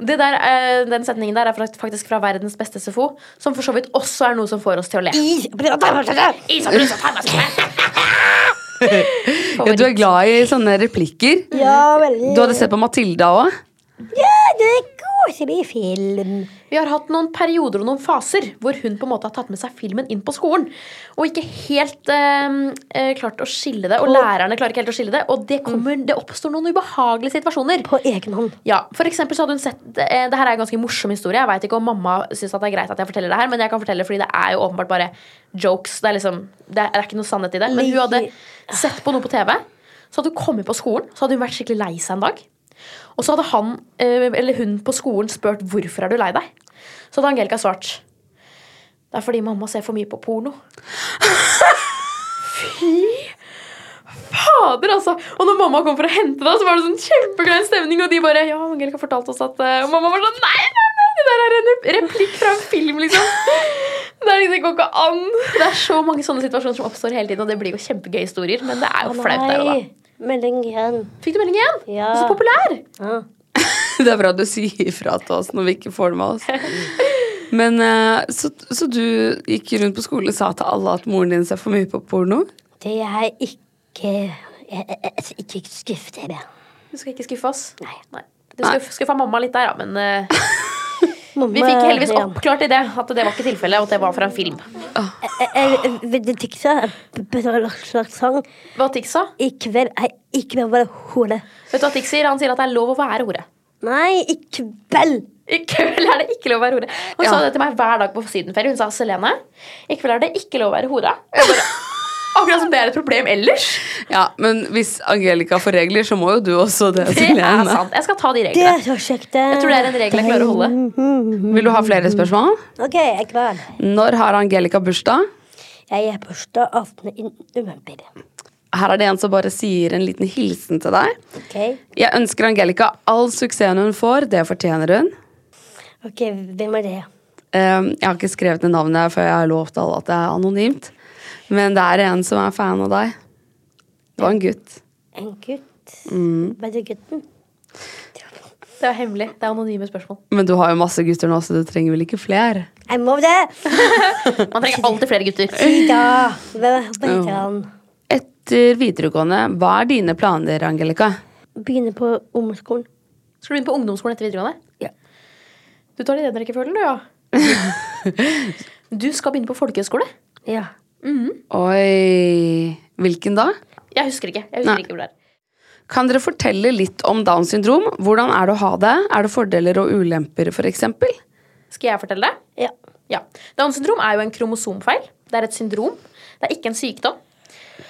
Speaker 2: Det der, eh, Den setningen der er fra- faktisk fra Verdens beste SFO, som for så vidt også er noe som får oss til å le.
Speaker 1: Is og brus og tømmersasse.
Speaker 2: Is og brus og thaimassasje!
Speaker 3: Ja, du er glad i sånne replikker.
Speaker 1: Ja, veldig.
Speaker 3: Du hadde sett på Matilda òg.
Speaker 1: Ja, det er god. koser meg i film.
Speaker 2: Vi har hatt noen perioder og noen faser hvor hun på en måte har tatt med seg filmen inn på skolen. Og ikke helt ehm, eh, klart å skille det, og lærerne klarer ikke helt å skille det. Og det, kommer, det oppstår noen ubehagelige situasjoner.
Speaker 1: På egen hånd.
Speaker 2: Ja, for eksempel så hadde hun sett eh, Det her er en ganske morsom historie. Jeg vet ikke om mamma syns det er greit at jeg forteller det her, men jeg kan fortelle fordi det er jo åpenbart bare jokes. Det er liksom, det er ikke noe sannhet i det. Men hun hadde sett på noe på TV. Så hadde hun kommet på skolen, så hadde hun vært skikkelig lei seg en dag. Og så hadde han, eh, eller hun på skolen spurt hvorfor er du lei deg. Så hadde Angelica svart det er fordi mamma ser for mye på porno. Fy fader, altså! Og når mamma kom for å hente deg, så var det sånn kjempeglein stemning. Og de bare Ja, Angelica fortalte oss at eh», Og mamma var sånn Nei, nei, nei! Det der er en replikk fra en film, liksom. Det, er, liksom, det går ikke an. Det er så mange sånne situasjoner som oppstår hele tiden, og det blir jo kjempegøye historier, men det er jo flaut der og da.
Speaker 1: melding igjen.
Speaker 2: Fikk du melding igjen?
Speaker 1: Ja.
Speaker 2: Du er så populær!
Speaker 1: Ja.
Speaker 3: Det er bra du sier ifra til oss når vi ikke får det med oss. Men eh, så, så du gikk rundt på skolen og sa til alle at moren din ser for mye på porno?
Speaker 1: Det er ikke jeg, jeg, jeg, Ikke skuff dere.
Speaker 2: Du skal ikke skuffe oss.
Speaker 1: Nei.
Speaker 2: Du skuff, skuffa mamma litt der, ja, men eh,
Speaker 1: Mamma
Speaker 2: vi fikk heldigvis
Speaker 1: ja.
Speaker 2: oppklart i det at det var ikke tilfellet, og at det var fra en film.
Speaker 1: Jeg- jeg- jeg- Vil du tikse? En slags sang.
Speaker 2: Hva Tix sa?
Speaker 1: I kveld er ikke med å være hore.
Speaker 2: Vet du hva Tix sier? Han sier at det er lov å være hore.
Speaker 1: Nei, i kveld!
Speaker 2: I kveld er det ikke lov å være hore. Hun sa det til meg hver dag på sydenferie. Hun sa Selene, i kveld er det ikke lov å være hore. Jeg bare, Akkurat som det er et problem ellers.
Speaker 3: Ja, men hvis Angelica får regler, så må jo du også det.
Speaker 2: Det er
Speaker 3: Silene.
Speaker 2: sant. Jeg skal ta de
Speaker 1: Det
Speaker 2: reglene.
Speaker 1: er så kjekt. det.
Speaker 2: Jeg tror det er en regel jeg klarer å holde.
Speaker 3: Vil du ha flere spørsmål?
Speaker 1: Ok, jeg er klar.
Speaker 3: Når har Angelica bursdag?
Speaker 1: Jeg er bursdag 18. i november.
Speaker 3: Her er det en som bare sier en liten hilsen til deg.
Speaker 1: Ok,
Speaker 3: Jeg ønsker Angelica all suksessen hun får. Det fortjener hun.
Speaker 1: ok, hvem er det?
Speaker 3: Um, Jeg har ikke skrevet ned navnet, for jeg har lovt alle at det er anonymt. Men det er en som er fan av deg. Det var en gutt.
Speaker 1: En gutt?
Speaker 2: Mm.
Speaker 1: Hva er det gutten?
Speaker 2: Det er hemmelig. Det er anonyme spørsmål.
Speaker 3: Men du har jo masse gutter nå, så du trenger vel ikke flere?
Speaker 1: Jeg må det!
Speaker 2: Man trenger alltid flere gutter.
Speaker 1: Ida! Hva hva heter han?
Speaker 3: Etter videregående, hva er dine planer, Angelica?
Speaker 1: Begynner på ungdomsskolen.
Speaker 2: Skal du begynne på ungdomsskolen etter videregående?
Speaker 1: Ja.
Speaker 2: Du tar det i den rekkefølgen, du, ja. Du skal begynne på folkehøyskole.
Speaker 1: Ja.
Speaker 3: Oi Hvilken da?
Speaker 2: Jeg husker ikke. Jeg husker ikke hvor det er.
Speaker 3: Kan dere fortelle litt om Downs syndrom? Hvordan er det å ha det? Er det fordeler og ulemper, f.eks.?
Speaker 2: Skal jeg fortelle det?
Speaker 1: ja.
Speaker 2: Ja. Downs syndrom er jo en kromosomfeil. Det er et syndrom. Det er ikke en sykdom.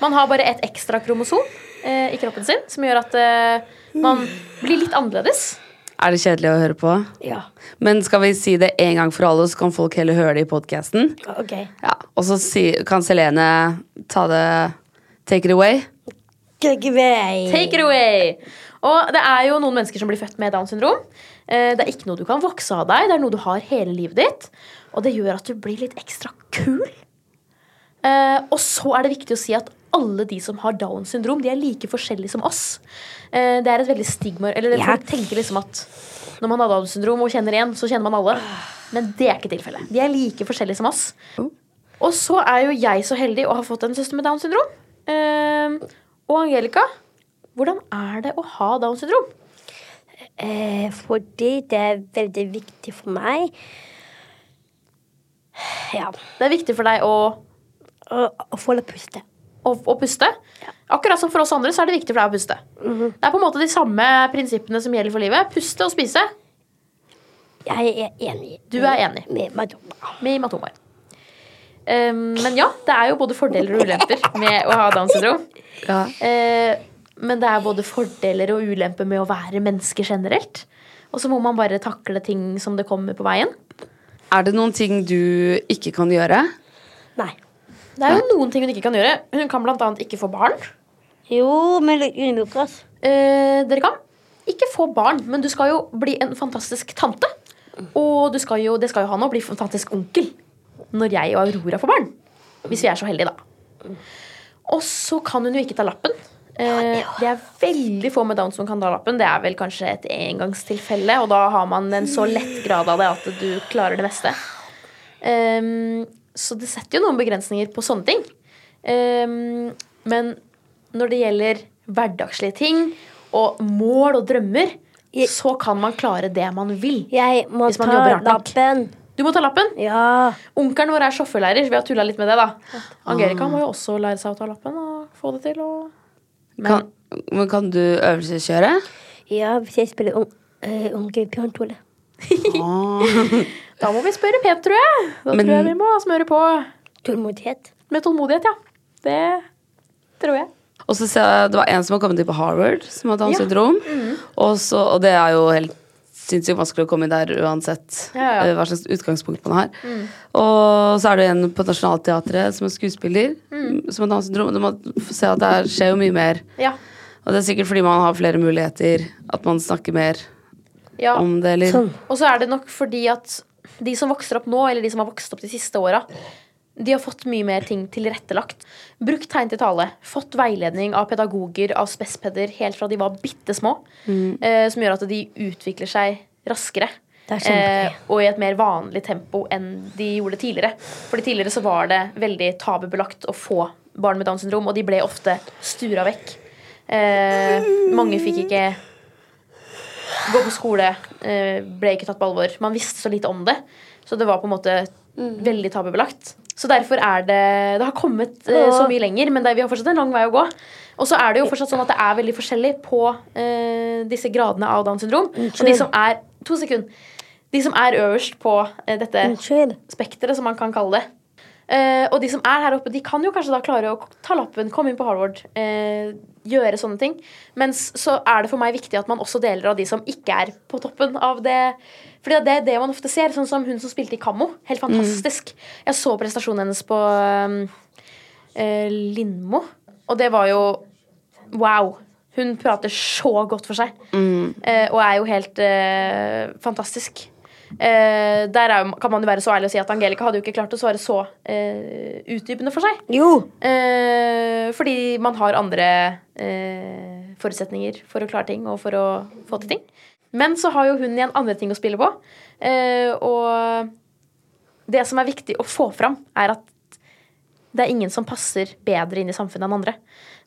Speaker 2: Man har bare et ekstra kromosom eh, i kroppen sin som gjør at eh, man blir litt annerledes.
Speaker 3: Er det kjedelig å høre på?
Speaker 1: Ja.
Speaker 3: Men skal vi si det en gang for alle, så kan folk heller høre det i podkasten?
Speaker 1: Ok.
Speaker 3: Ja. Og så si, kan Selene ta det Take it away.
Speaker 1: Gregvei.
Speaker 2: Take it away! Og det er jo noen mennesker som blir født med Downs syndrom. Eh, Det er ikke noe du kan vokse av deg, det er noe du har hele livet ditt. Og det gjør at du blir litt ekstra kul. Eh, Og så er det viktig å si at alle de som har Downs syndrom, de er like forskjellige som oss. Eh, Det er et veldig stigma Eller
Speaker 1: Ja.
Speaker 2: folk tenker liksom at når man har Downs syndrom og kjenner én, så kjenner man alle. Men det er ikke tilfellet. De er like forskjellige som oss. Og så er jo jeg så heldig å ha fått en søster med Downs syndrom. Ehm, og Angelica, hvordan er det å ha Downs syndrom?
Speaker 1: Eh, fordi det er veldig viktig for meg. Ja.
Speaker 2: Det er viktig for deg å,
Speaker 1: Å å få litt puste.
Speaker 2: å, å puste. Akkurat som for oss andre så er det viktig for deg å puste. Det er på en måte de samme prinsippene som gjelder for livet. Puste og spise.
Speaker 1: Jeg er enig
Speaker 2: Du er enig.
Speaker 1: med Madonna.
Speaker 2: Med imatomar. Ehm, men ja, det er jo både fordeler og ulemper med å ha Downs syndrom.
Speaker 3: Ja.
Speaker 2: Eh, men det er både fordeler og ulemper med å være menneske generelt. Og så må man bare takle ting som det kommer på veien.
Speaker 3: Er det noen ting du ikke kan gjøre?
Speaker 1: Nei.
Speaker 2: Det er jo noen ting hun ikke kan gjøre. Hun kan bl.a. ikke få barn.
Speaker 1: Jo, men underbukkas.
Speaker 2: Eh, dere kan ikke få barn, men du skal jo bli en fantastisk tante. Og du skal jo, det skal jo han òg, bli fantastisk onkel når jeg og Aurora får barn. Hvis vi er så heldige, da. Og så kan hun jo ikke ta lappen. Eh, det er veldig få med Downs som kan ta lappen. Det er vel kanskje et engangstilfelle, og da har man en så lett grad av det at du klarer det meste. Ehm, så det setter jo noen begrensninger på sånne ting. Ehm, men når det gjelder hverdagslige ting og mål og drømmer,
Speaker 1: Jeg-
Speaker 2: så kan man klare det man vil.
Speaker 1: Jeg må
Speaker 2: Hvis man
Speaker 1: ta
Speaker 2: jobber hardt nok.
Speaker 1: lappen.
Speaker 2: Du må ta lappen.
Speaker 1: Ja.
Speaker 2: Onkelen vår er sjåførlærer. Vi har tulla litt med det, da. Angelica må jo også lære seg å ta lappen og få det til. Og... Men
Speaker 3: Kan, men kan du øvelseskjøre?
Speaker 1: ja, hvis jeg spiller un eh, Onkel Bjørn Tore.
Speaker 2: Ah. da må vi spørre pent, tror jeg. Da
Speaker 3: Men-
Speaker 2: tror jeg vi må smøre på
Speaker 1: Tålmodighet.
Speaker 2: med tålmodighet, ja. Det tror jeg.
Speaker 3: Og så ser jeg, Det var en som har kommet inn på Harvard, som har Downs
Speaker 2: Ja. Mm.
Speaker 3: syndrom. og, så, og det er jo helt sinnssykt vanskelig å komme inn der uansett
Speaker 2: Ja, Mm. ja.
Speaker 3: eh, hva slags utgangspunkt man har. Og så er det en på Nationaltheatret som er skuespiller
Speaker 2: Mm.
Speaker 3: som har Downs syndrom. Du må f- se at det er- skjer jo mye mer.
Speaker 2: Ja.
Speaker 3: Og det er sikkert fordi man har flere muligheter, at man snakker mer
Speaker 2: ja.
Speaker 3: om det. Eller
Speaker 1: Sånn.
Speaker 2: Og så er det nok fordi at de som vokser opp nå, eller de som har vokst opp de siste åra, de har fått mye mer ting tilrettelagt. Brukt tegn til tale. Fått veiledning av pedagoger, av spespeder, helt fra de var bitte små.
Speaker 1: Mm.
Speaker 2: Eh, som gjør at de utvikler seg raskere. eh,
Speaker 1: Det er kjempegøy.
Speaker 2: og i et mer vanlig tempo enn de gjorde tidligere. Fordi tidligere så var det veldig tabubelagt å få barn med Downs syndrom, og de ble ofte stura vekk. Eh, mange fikk ikke gå på skole, eh, ble ikke tatt på alvor. Man visste så lite om det. Så det var på en måte veldig tabubelagt. Så derfor er det Det har kommet eh, så mye lenger, men det, vi har fortsatt en lang vei å gå. Og så er det jo fortsatt sånn at det er veldig forskjellig på eh, disse gradene av Downs syndrom. Og de som er To sekunder. De som er øverst på eh, dette
Speaker 1: Unnskyld.
Speaker 2: spekteret, som man kan kalle det. Eh, og de som er her oppe, de kan jo kanskje da klare å ta lappen, komme inn på Harvard, eh, gjøre sånne ting. Mens så er det for meg viktig at man også deler av de som ikke er på toppen av det. Fordi det er det man ofte ser, sånn som hun som spilte i Kammo. Helt fantastisk. Jeg så prestasjonen hennes på um, eh, Lindmo, og det var jo wow. Hun prater så godt for seg, eh, og er jo helt eh, fantastisk. Eh, der er, jo- kan man jo være så ærlig og si at Angelica hadde jo ikke klart å svare så eh, utdypende for seg.
Speaker 1: Jo.
Speaker 2: Eh, fordi man har andre eh, forutsetninger for å klare ting og for å få til ting. Men så har jo hun igjen andre ting å spille på. Eh, og det som er viktig å få fram, er at det er ingen som passer bedre inn i samfunnet enn andre.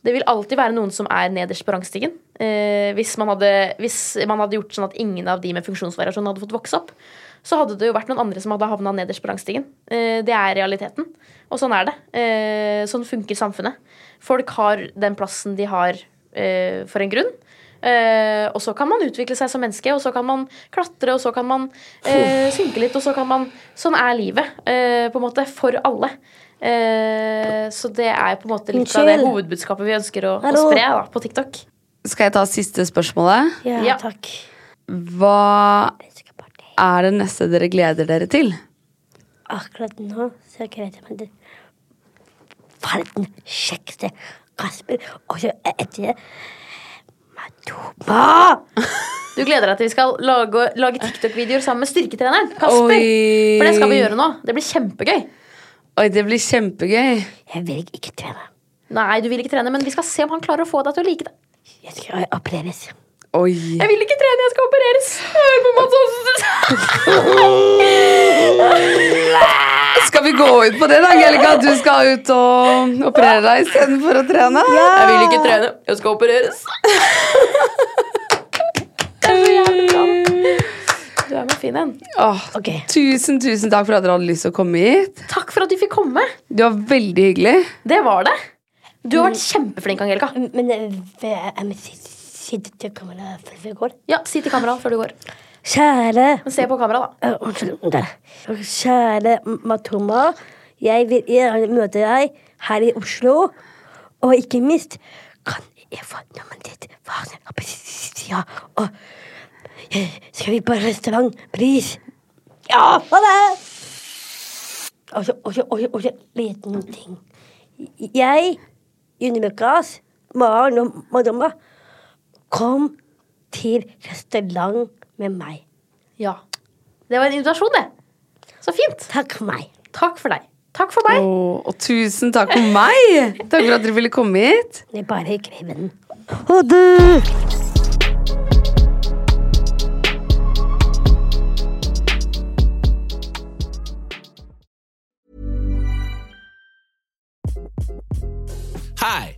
Speaker 2: Det vil alltid være noen som er nederst på rangstigen. Eh, hvis, man hadde, hvis man hadde gjort sånn at ingen av de med funksjonsvariasjon hadde fått vokse opp, så hadde det jo vært noen andre som hadde havna nederst på rangstigen. Eh, det er realiteten. Og sånn er det. Eh, sånn funker samfunnet. Folk har den plassen de har eh, for en grunn. Eh, og så kan man utvikle seg som menneske, og så kan man klatre, og så kan man eh, synke litt, og så kan man Sånn er livet, eh, på en måte, for alle. Eh, så det er på en måte litt av det
Speaker 1: Unnskyld.
Speaker 2: hovedbudskapet vi ønsker å, å
Speaker 1: Hallo.
Speaker 2: spre da, på TikTok.
Speaker 3: Skal jeg ta siste spørsmålet?
Speaker 1: Ja,
Speaker 2: Ja.
Speaker 1: takk.
Speaker 3: Hva
Speaker 1: Jeg skal bare det.
Speaker 3: er det neste dere gleder dere til?
Speaker 1: Akkurat nå så gleder jeg meg til verdens kjekkeste Kasper. Og så etter det Matoba!
Speaker 2: Du gleder deg til vi skal lage, lage TikTok-videoer sammen med styrketreneren Kasper.
Speaker 3: Oi.
Speaker 2: For det skal vi gjøre nå. Det blir kjempegøy.
Speaker 3: Oi, det blir kjempegøy.
Speaker 1: Jeg vil ikke trene.
Speaker 2: Nei, du vil ikke trene, men vi skal se om han klarer å få deg til å like det.
Speaker 1: Jeg skal opereres.
Speaker 3: Oi.
Speaker 2: Jeg vil ikke trene, jeg skal opereres. Hør på Mads Hansen.
Speaker 3: Skal vi gå ut på det, da, Angelica? At du skal ut og operere deg istedenfor å trene?
Speaker 2: Jeg vil ikke trene, jeg skal opereres. Det er så jævlig bra. Du er med fin en.
Speaker 3: Åh,
Speaker 1: Ok.
Speaker 3: Tusen, tusen takk for at dere hadde lyst til å komme hit.
Speaker 2: Takk for at du fikk komme.
Speaker 3: Det var veldig hyggelig.
Speaker 2: Det var det. Du har vært kjempeflink, Angelica.
Speaker 1: Men eh, hvem sitter til kamera før vi går?
Speaker 2: Ja, Si til kamera før du går.
Speaker 1: Kjære
Speaker 2: Men se på kamera, da.
Speaker 1: Eh, Unnskyld. der. Kjære Matoma. Jeg vil gjerne møte deg her i Oslo. Og ikke minst, kan jeg få nummeret ditt? Hva er det? Ja, og eh, skal vi på restaurant? Pris? Ja, ha det! Og så, og så, og så, og så liten ting. Jeg, Unimekas, Maren og Madonna, kom til restaurant med meg.
Speaker 2: Ja. Det var en invitasjon, det. Så fint.
Speaker 1: Takk for meg.
Speaker 2: Takk for deg. Takk for meg.
Speaker 3: Åh, og tusen takk for meg! Takk for at dere ville komme hit.
Speaker 1: Det er bare kreven. Ha det!
Speaker 7: Hi,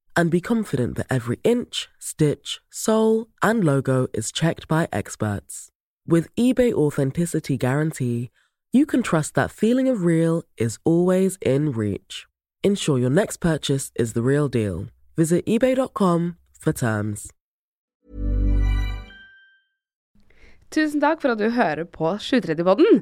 Speaker 8: and be confident that every inch, stitch, sole, and logo is checked by experts. With eBay Authenticity Guarantee, you can trust that feeling of real is always in reach. Ensure your next purchase is the real deal. Visit eBay.com for terms.
Speaker 3: Tusen takk for at du hører på 730-podden.